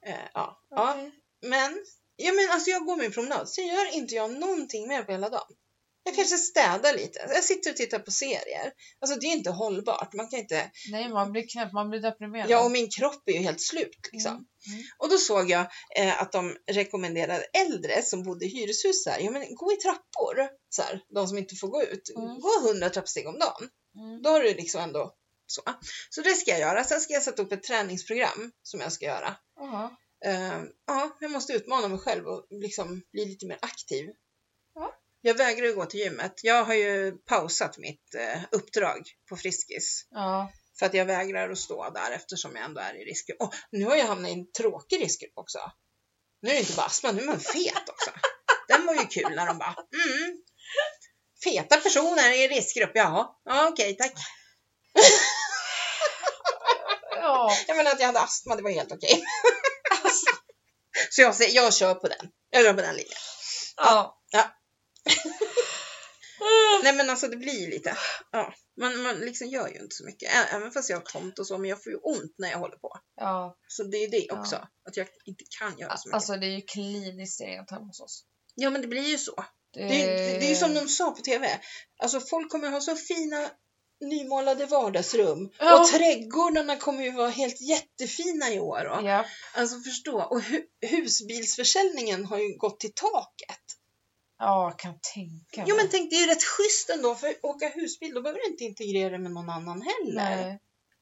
Speaker 2: Eh, ja. ja,
Speaker 1: okej.
Speaker 2: men, ja, men alltså jag går min promenad. Sen gör inte jag någonting mer på hela dagen. Jag kanske städar lite. Jag sitter och tittar på serier. Alltså det är inte hållbart. Man kan inte...
Speaker 1: Nej man blir knäpp, man blir deprimerad.
Speaker 2: Ja, och min kropp är ju helt slut liksom.
Speaker 1: Mm, mm.
Speaker 2: Och då såg jag eh, att de rekommenderade äldre som bodde i hyreshus så här, ja men gå i trappor. Så här, de som inte får gå ut.
Speaker 1: Mm.
Speaker 2: Gå 100 trappsteg om dagen.
Speaker 1: Mm.
Speaker 2: Då har du liksom ändå så. Så det ska jag göra. Sen ska jag sätta upp ett träningsprogram som jag ska göra.
Speaker 1: Jaha.
Speaker 2: Eh, ja, jag måste utmana mig själv och liksom bli lite mer aktiv.
Speaker 1: Ja.
Speaker 2: Jag vägrar ju gå till gymmet. Jag har ju pausat mitt eh, uppdrag på Friskis.
Speaker 1: Ja.
Speaker 2: För att jag vägrar att stå där eftersom jag ändå är i riskgrupp. Åh, nu har jag hamnat i en tråkig riskgrupp också. Nu är det inte bara astma, nu är man fet också. Den var ju kul när de bara, mm. Feta personer i riskgrupp, jaha. Ja, okej, tack.
Speaker 1: Ja.
Speaker 2: Jag menar att jag hade astma, det var helt okej. Alltså, Så jag, säger, jag kör på den. Jag kör på den linjen.
Speaker 1: Ja.
Speaker 2: Ja.
Speaker 1: Ah.
Speaker 2: Nej men alltså det blir ju lite, ja. Man, man liksom gör ju inte så mycket. Ä- Även fast jag har tomt och så, men jag får ju ont när jag håller på.
Speaker 1: ja.
Speaker 2: Så det är ju det
Speaker 1: Ja.
Speaker 2: också. Att jag inte kan göra så mycket.
Speaker 1: Alltså det är ju kliniskt rent hemma hos oss.
Speaker 2: Ja men det blir ju så.
Speaker 1: Det,
Speaker 2: Det, det, det är ju som de sa på TV. Alltså folk kommer ha så fina nymålade vardagsrum
Speaker 1: Ja.
Speaker 2: och trädgårdarna kommer ju vara helt jättefina i år. va?
Speaker 1: Ja.
Speaker 2: Alltså förstå. Och hu- husbilsförsäljningen har ju gått till taket.
Speaker 1: Ja, jag kan tänka
Speaker 2: Jo
Speaker 1: mig.
Speaker 2: men tänk det är ju rätt schysst ändå för att åka husbil då behöver du inte integrera det med någon annan heller.
Speaker 1: Nej.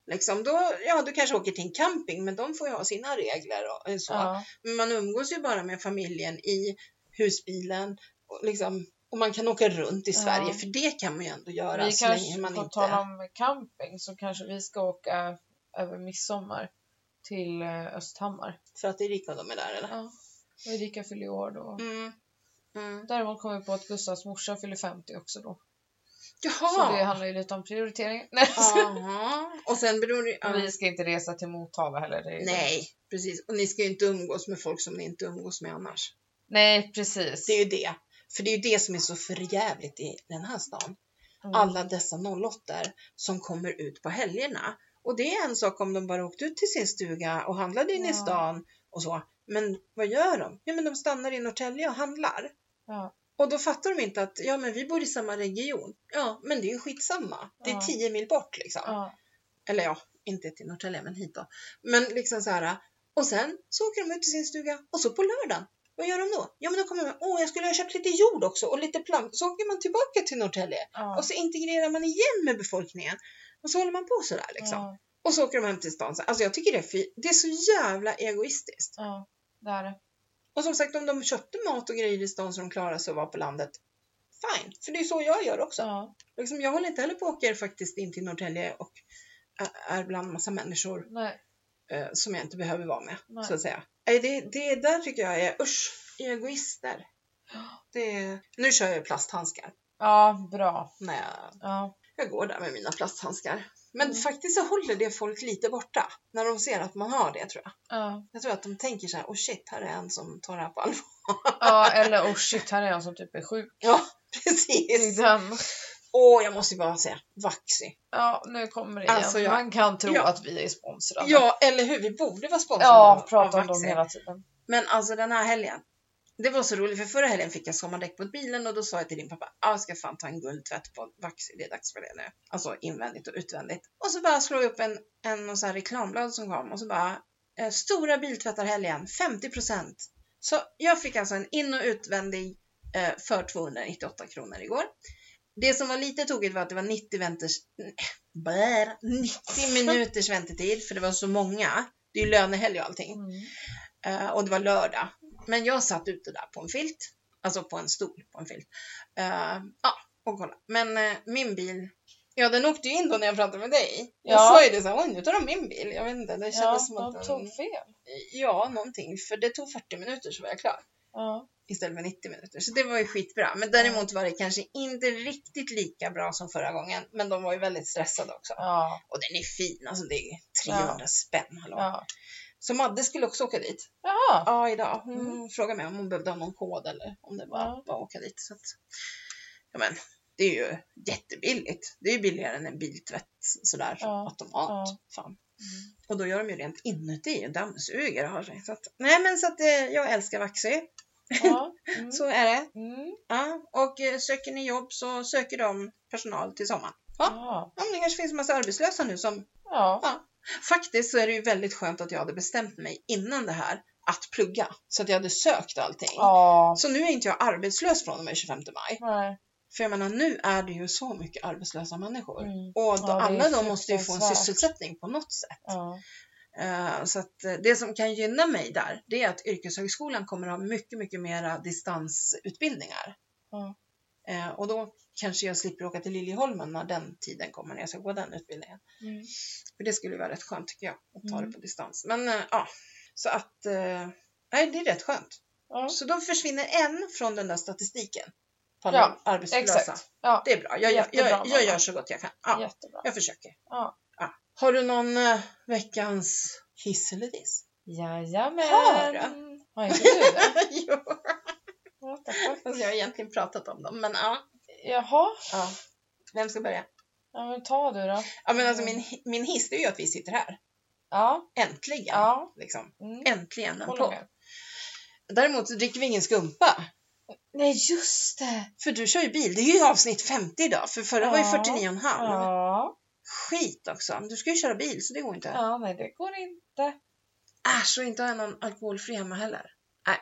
Speaker 2: Liksom, då, ja du kanske åker till en camping men de får ju ha sina regler och eh, så.
Speaker 1: Ja.
Speaker 2: Men man umgås ju bara med familjen i husbilen och, liksom, och man kan åka runt i
Speaker 1: Ja.
Speaker 2: Sverige för det kan man ju ändå göra
Speaker 1: Vi
Speaker 2: så länge
Speaker 1: kanske,
Speaker 2: man
Speaker 1: på
Speaker 2: inte...
Speaker 1: tal om camping, så kanske vi ska åka över midsommar till eh, Östhammar.
Speaker 2: För att Erika och de är där eller?
Speaker 1: Ja. Och Erika fyller ju år då.
Speaker 2: Mm. Mm.
Speaker 1: Däremot kom vi på att Gustavs morsa fyller 50 också då. Så det
Speaker 2: Jaha!
Speaker 1: handlar ju lite om prioritering. Nej,
Speaker 2: Aha. Och sen beror det
Speaker 1: Och
Speaker 2: ja.
Speaker 1: Vi ska inte resa till Motala heller. Det är ju-
Speaker 2: Nej, precis. Och ni ska ju inte umgås med folk som ni inte umgås med annars.
Speaker 1: Nej, precis.
Speaker 2: Det är ju det. För det är ju det som är så förjävligt i den här stan.
Speaker 1: Mm.
Speaker 2: Alla dessa 08 som kommer ut på helgerna. Och det är en sak om de bara åkte ut till sin stuga och handlade inne i
Speaker 1: Ja.
Speaker 2: stan och så. Men vad gör de? Ja, men de stannar i Norrtälje och handlar.
Speaker 1: Ja.
Speaker 2: Och då fattar de inte att ja, men vi bor i samma region. Ja, men det är ju skitsamma. Det är
Speaker 1: Ja.
Speaker 2: 10 mil bort liksom.
Speaker 1: Ja.
Speaker 2: Eller ja, inte till Norrtälje, men hit då. Men liksom så här. Och sen så åker de ut till sin stuga och så på lördagen, vad gör de då? Ja, men då kommer de, åh, jag skulle ha köpt lite jord också och lite plank. Så åker man tillbaka till Norrtälje
Speaker 1: Ja.
Speaker 2: och så integrerar man igen med befolkningen. Och så håller man på sådär liksom.
Speaker 1: Ja.
Speaker 2: Och så åker de hem till stan. Alltså jag tycker det är, fy- det är så jävla egoistiskt.
Speaker 1: ja, det är det.
Speaker 2: Och som sagt, om de köpte mat och grejer i stan så de klarar sig att vara på landet. Fine, för det är så jag gör också.
Speaker 1: Ja.
Speaker 2: Liksom, jag håller inte heller på och åker faktiskt in till Norrtälje och är- är bland massa människor
Speaker 1: Nej.
Speaker 2: eh, som jag inte behöver vara med.
Speaker 1: Nej.
Speaker 2: Så att säga. Nej, det, det där tycker jag är, usch, egoister. Det, är- nu kör jag plasthandskar
Speaker 1: Ja, bra.
Speaker 2: när jag,
Speaker 1: Ja.
Speaker 2: jag går där med mina plasthandskar. Men
Speaker 1: Mm.
Speaker 2: faktiskt så håller det folk lite borta när de ser att man har det tror jag.
Speaker 1: Ja.
Speaker 2: Jag tror att de tänker så här, oh shit, här är en som tar det här på allvar.
Speaker 1: ja, eller oh shit, här är jag som typ är sjuk.
Speaker 2: Ja,
Speaker 1: Det är
Speaker 2: precis.
Speaker 1: den.
Speaker 2: Åh, jag måste ju bara säga, vaxi.
Speaker 1: Ja, nu kommer det igen.
Speaker 2: Alltså, jag-
Speaker 1: Man kan tro
Speaker 2: Ja.
Speaker 1: att vi är sponsrade.
Speaker 2: Ja, eller hur? Vi borde vara sponsrade
Speaker 1: ja
Speaker 2: av-
Speaker 1: prata om
Speaker 2: av
Speaker 1: dem
Speaker 2: Vaxi.
Speaker 1: hela tiden.
Speaker 2: Men alltså den här helgen. Det var så roligt för förra helgen fick jag sommardäck på bilen och då sa jag till din pappa, "Ah, jag ska fan ta en guldtvätt på Vaxi, det är dags för det nu. Alltså invändigt och utvändigt. Och så bara slog jag upp en, en någon sån här reklamblad som kom och så bara, eh, stora biltvättarhelgen, 50%. Så jag fick alltså en in och utvändig eh, för 298 kronor igår. Det som var lite tokigt var att det var 90, vänters, bär, 90 minuters väntetid för det var så många. Det är ju lönehelg och allting.
Speaker 1: Mm.
Speaker 2: Eh, och det var lördag. Men jag satt ute där på en filt, alltså på en stol på en filt. Eh, ja, och kolla. Men eh, min bil, ja den åkte ju in då när jag pratade med dig. Jag
Speaker 1: Ja.
Speaker 2: sa ju det så här, oj nu tar de min bil. Jag vet inte, det kändes
Speaker 1: Ja,
Speaker 2: som att
Speaker 1: de
Speaker 2: den,
Speaker 1: tog fel.
Speaker 2: Ja, någonting. För det tog 40 minuter så var jag klar.
Speaker 1: Ja.
Speaker 2: Istället för 90 minuter. Så det var ju skitbra. Men däremot var det kanske inte riktigt lika bra som förra gången. Men de var ju väldigt stressade också.
Speaker 1: Ja.
Speaker 2: Och den är fin, alltså det är 300 spänn. Hallå.
Speaker 1: ja.
Speaker 2: Så Madde skulle också åka dit.
Speaker 1: Jaha.
Speaker 2: Ja, idag. Hon
Speaker 1: Mm.
Speaker 2: frågade mig om hon behövde ha någon kod eller om det var
Speaker 1: Ja.
Speaker 2: bara att åka dit. Så att, ja, men, det är ju jättebilligt. Det är ju billigare än en biltvätt sådär
Speaker 1: Ja,
Speaker 2: automat.
Speaker 1: ja. Mm.
Speaker 2: Fan. Och då gör de ju rent inuti och dammsuger och har sig. Så att, nej men så att eh, jag älskar Vaxy.
Speaker 1: Ja. Mm.
Speaker 2: Så är det.
Speaker 1: Mm.
Speaker 2: Ja. Och eh, söker ni jobb så söker de personal till sommaren. Ja.
Speaker 1: Ja.
Speaker 2: Ja, men det kanske finns en massa arbetslösa nu som
Speaker 1: Ja.
Speaker 2: Faktiskt så är det ju väldigt skönt att jag hade bestämt mig innan det här att plugga. Så att jag hade sökt allting.
Speaker 1: Ja.
Speaker 2: Så nu är inte jag arbetslös från och med 25 maj.
Speaker 1: Nej.
Speaker 2: För jag menar nu är det ju så mycket arbetslösa människor.
Speaker 1: Mm.
Speaker 2: Och då,
Speaker 1: Ja, det är
Speaker 2: alla de måste ju få en
Speaker 1: fruktansvärt.
Speaker 2: sysselsättning på något sätt.
Speaker 1: Ja.
Speaker 2: Eh, så att eh, det som kan gynna mig där, det är att yrkeshögskolan kommer att ha mycket, mycket mera distansutbildningar.
Speaker 1: Ja.
Speaker 2: Eh, och då kanske jag slipper åka till Liljeholmen när den tiden kommer, när jag ska gå den utbildningen.
Speaker 1: Mm.
Speaker 2: För det skulle ju vara rätt skönt tycker jag, att ta
Speaker 1: Mm.
Speaker 2: det på distans. Men eh, ja, så att eh, nej, det är rätt skönt.
Speaker 1: Ja.
Speaker 2: Så då försvinner en från den där statistiken på alla
Speaker 1: Ja,
Speaker 2: arbetslösa.
Speaker 1: Exakt. Ja.
Speaker 2: Det är bra, jag, gör-
Speaker 1: Jättebra,
Speaker 2: jag, jag gör
Speaker 1: mamma.
Speaker 2: så gott jag kan. Ja,
Speaker 1: Jättebra.
Speaker 2: Jag försöker.
Speaker 1: Ja.
Speaker 2: Har du någon eh, veckans hiss eller diss?
Speaker 1: Jajamän.
Speaker 2: Har du?
Speaker 1: Har inte du det?
Speaker 2: jo,
Speaker 1: What the fuck?
Speaker 2: fast jag har egentligen pratat om dem. Men ja.
Speaker 1: Jaha.
Speaker 2: ja. Vem ska börja?
Speaker 1: Ja, men ta du då.
Speaker 2: Ja, men alltså
Speaker 1: Mm.
Speaker 2: min, min hiss det är ju att vi sitter här.
Speaker 1: Ja.
Speaker 2: Äntligen!
Speaker 1: Ja.
Speaker 2: Liksom.
Speaker 1: Mm.
Speaker 2: Äntligen en
Speaker 1: Håller
Speaker 2: podd.
Speaker 1: med.
Speaker 2: Däremot så dricker vi ingen skumpa.
Speaker 1: Nej, just det!
Speaker 2: För du kör ju bil, det är ju avsnitt 50 idag, för förra var ju
Speaker 1: Ja.
Speaker 2: 49,5.
Speaker 1: Ja.
Speaker 2: Skit också, men du ska ju köra bil så det går inte.
Speaker 1: ja, nej det går inte.
Speaker 2: Äsch, och Äh, inte ha någon alkoholfri hemma heller. Nej,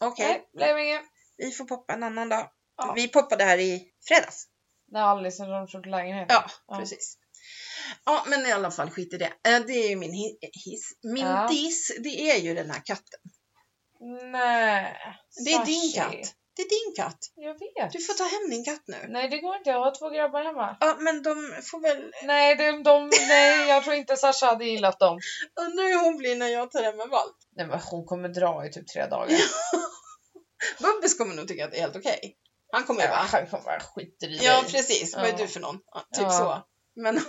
Speaker 2: okej.
Speaker 1: Nej, blev inget.
Speaker 2: Vi får poppa en annan dag.
Speaker 1: Ja.
Speaker 2: Vi poppade här i fredags.
Speaker 1: När Alice och de såg lägenheten.
Speaker 2: Ja, precis. Ja, men i alla fall skit i det. Eh, Det är ju min hi- hiss. Min
Speaker 1: Ja.
Speaker 2: diss, det är ju den här katten.
Speaker 1: Nej.
Speaker 2: Det är din
Speaker 1: Sashi.
Speaker 2: katt. Det är din katt.
Speaker 1: Jag vet.
Speaker 2: Du får ta hem din katt nu.
Speaker 1: Nej, det går inte. Jag har två grabbar hemma.
Speaker 2: Ja, men de får väl...
Speaker 1: Nej, de, de, nej jag tror inte Sasha hade gillat dem.
Speaker 2: Undrar hur hon blir när jag tar hem en valp.
Speaker 1: Nej, men hon kommer dra i typ tre dagar.
Speaker 2: Bubbis kommer nog tycka att det är helt okej. Han kommer
Speaker 1: Ja,
Speaker 2: bara...
Speaker 1: han kommer bara skiter i
Speaker 2: Ja,
Speaker 1: dig.
Speaker 2: precis. Vad är
Speaker 1: Ja.
Speaker 2: du för någon? Ja, typ
Speaker 1: Ja.
Speaker 2: så. Men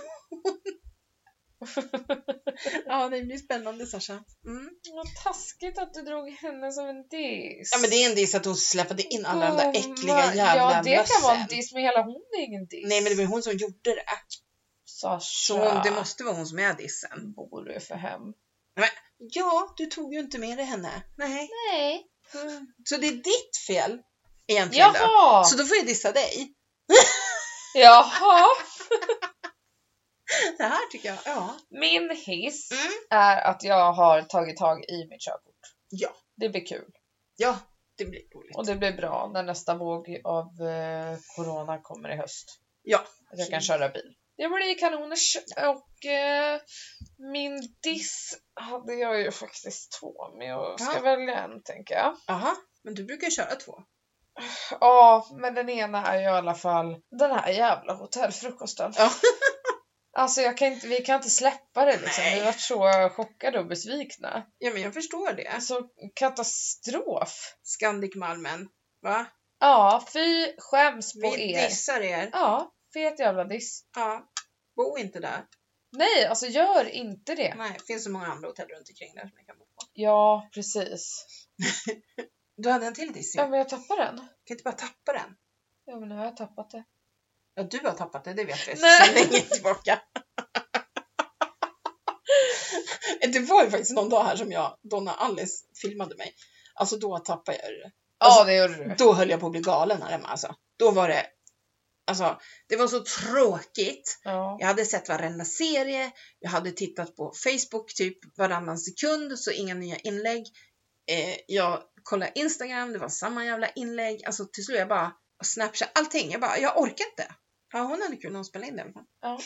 Speaker 2: Ja, det blir spännande Sasha. Mm.
Speaker 1: Vad taskigt att du drog henne som en diss.
Speaker 2: Ja, men det är en diss att hon släppade in alla de där äckliga
Speaker 1: Gumma.
Speaker 2: jävla
Speaker 1: Ja, det kan vara en
Speaker 2: mössen.
Speaker 1: diss, men hela hon är ingen diss.
Speaker 2: Nej, men det var ju hon som gjorde det.
Speaker 1: Sasha,
Speaker 2: Så det måste vara hon som är dissen.
Speaker 1: bor du för hem?
Speaker 2: Ja, du tog ju inte med dig henne. Nej.
Speaker 1: Nej.
Speaker 2: Så det är ditt fel egentligen då.
Speaker 1: Jaha!
Speaker 2: Så då får jag dissa dig.
Speaker 1: Jaha!
Speaker 2: Det här tycker jag, ja.
Speaker 1: Min hiss
Speaker 2: Mm.
Speaker 1: är att jag har tagit tag i mitt körkort.
Speaker 2: Ja.
Speaker 1: Det blir kul.
Speaker 2: Ja, det blir roligt.
Speaker 1: Och det blir bra när nästa våg av eh, corona kommer i höst.
Speaker 2: Ja.
Speaker 1: Att jag kan köra bil. Det blir kanoners och eh, min diss hade jag ju faktiskt två men jag ska
Speaker 2: Ja.
Speaker 1: välja en tänker jag.
Speaker 2: Jaha, men du brukar ju köra två.
Speaker 1: Ja, men den ena är ju i alla fall den här jävla hotellfrukosten.
Speaker 2: Ja.
Speaker 1: Alltså jag kan inte, vi kan inte släppa det liksom.
Speaker 2: Nej.
Speaker 1: Vi har varit så chockade och besvikna.
Speaker 2: Ja, men jag förstår det.
Speaker 1: Alltså katastrof.
Speaker 2: Scandic-Malmen, va?
Speaker 1: Ja, fy skäms på
Speaker 2: Vi
Speaker 1: er.
Speaker 2: dissar er.
Speaker 1: Ja, fet jävla diss.
Speaker 2: Ja. Bo inte där.
Speaker 1: Nej, alltså gör inte det.
Speaker 2: Nej, det finns så många andra hotell runt omkring där som jag kan bo på.
Speaker 1: Ja, precis.
Speaker 2: Du hade en till diss ju.
Speaker 1: Ja,
Speaker 2: Kan
Speaker 1: men jag tappar den.
Speaker 2: du inte bara tappa den?
Speaker 1: Ja, men nu har jag tappat det.
Speaker 2: Ja, du har tappat det, det vet vi.
Speaker 1: Nej.
Speaker 2: Sen länge tillbaka. Det var ju faktiskt någon dag här som jag, Donna Alice filmade mig. Alltså då tappade jag det. Alltså,
Speaker 1: ja, det gjorde du.
Speaker 2: Då höll jag på att bli galen här hemma alltså. Då var det, alltså det var så tråkigt.
Speaker 1: Ja.
Speaker 2: Jag hade sett varenda serie, jag hade tittat på Facebook typ varannan sekund så inga nya inlägg. Eh, jag kollade Instagram, det var samma jävla inlägg. Alltså till slut jag bara, och Snapchat, allting. Jag bara, jag orkar inte. Ja, hon hade kul när hon spelade in det i alla fall.
Speaker 1: ja.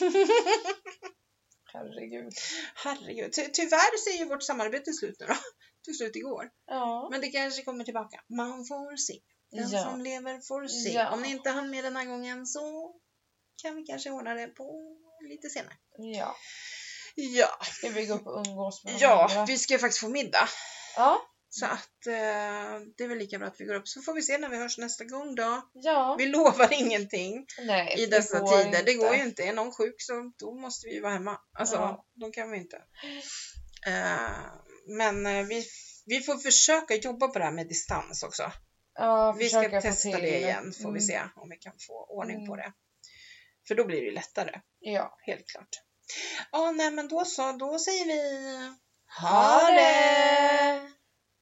Speaker 1: Herregud.
Speaker 2: Herregud, ty tyvärr så är ju vårt samarbete slut nu då. Tog slut igår.
Speaker 1: Ja.
Speaker 2: Men det kanske kommer tillbaka. Man får se. Den
Speaker 1: Ja.
Speaker 2: som lever får se.
Speaker 1: Ja.
Speaker 2: Om ni inte hann med den här gången så kan vi kanske ordna det på lite senare.
Speaker 1: Ja.
Speaker 2: Ja,
Speaker 1: Vi vill gå upp och umgås med
Speaker 2: ja
Speaker 1: varandra.
Speaker 2: vi ska ju faktiskt få middag.
Speaker 1: Ja.
Speaker 2: Så att eh, det är väl lika bra att vi går upp. Så får vi se när vi hörs nästa gång då.
Speaker 1: Ja.
Speaker 2: Vi lovar ingenting
Speaker 1: Nej,
Speaker 2: i
Speaker 1: det
Speaker 2: dessa
Speaker 1: går
Speaker 2: tider.
Speaker 1: inte.
Speaker 2: Det går ju inte. Är någon sjuk så då måste vi ju vara hemma. Alltså,
Speaker 1: Ja.
Speaker 2: då kan vi inte. Eh, men eh, vi, vi får försöka jobba på det här med distans också.
Speaker 1: Ja,
Speaker 2: Vi ska
Speaker 1: försöka få
Speaker 2: testa
Speaker 1: till
Speaker 2: det igen får vi
Speaker 1: Mm,
Speaker 2: se om vi kan få ordning på
Speaker 1: Mm.
Speaker 2: det. För då blir det ju lättare,
Speaker 1: Ja.
Speaker 2: helt klart. Ja, nej men då så, då säger vi
Speaker 1: Ha det!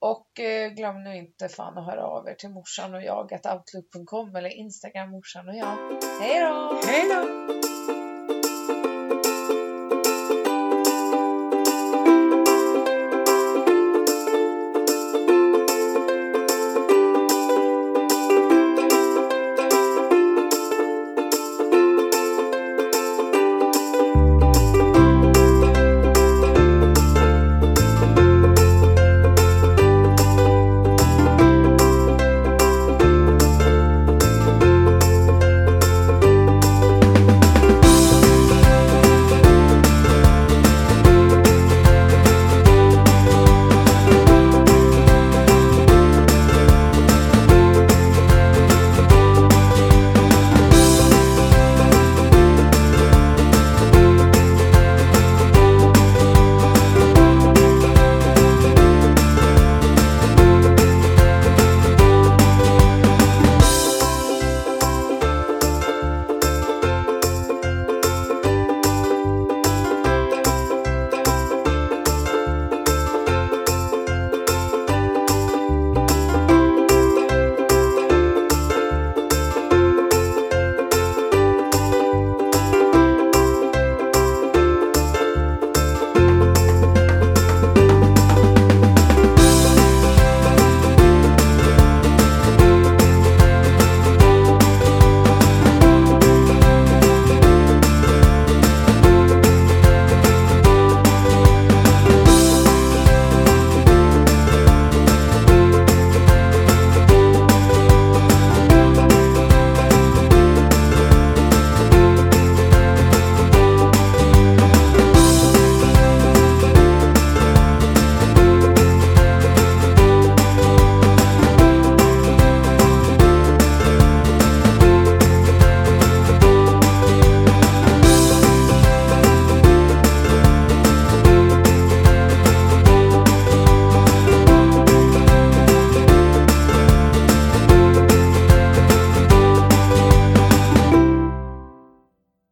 Speaker 1: Och eh, glöm nu inte fan att höra av er till morsan och jag, att outlook.com eller Instagram morsan och jag. Hej då!
Speaker 2: Hej då!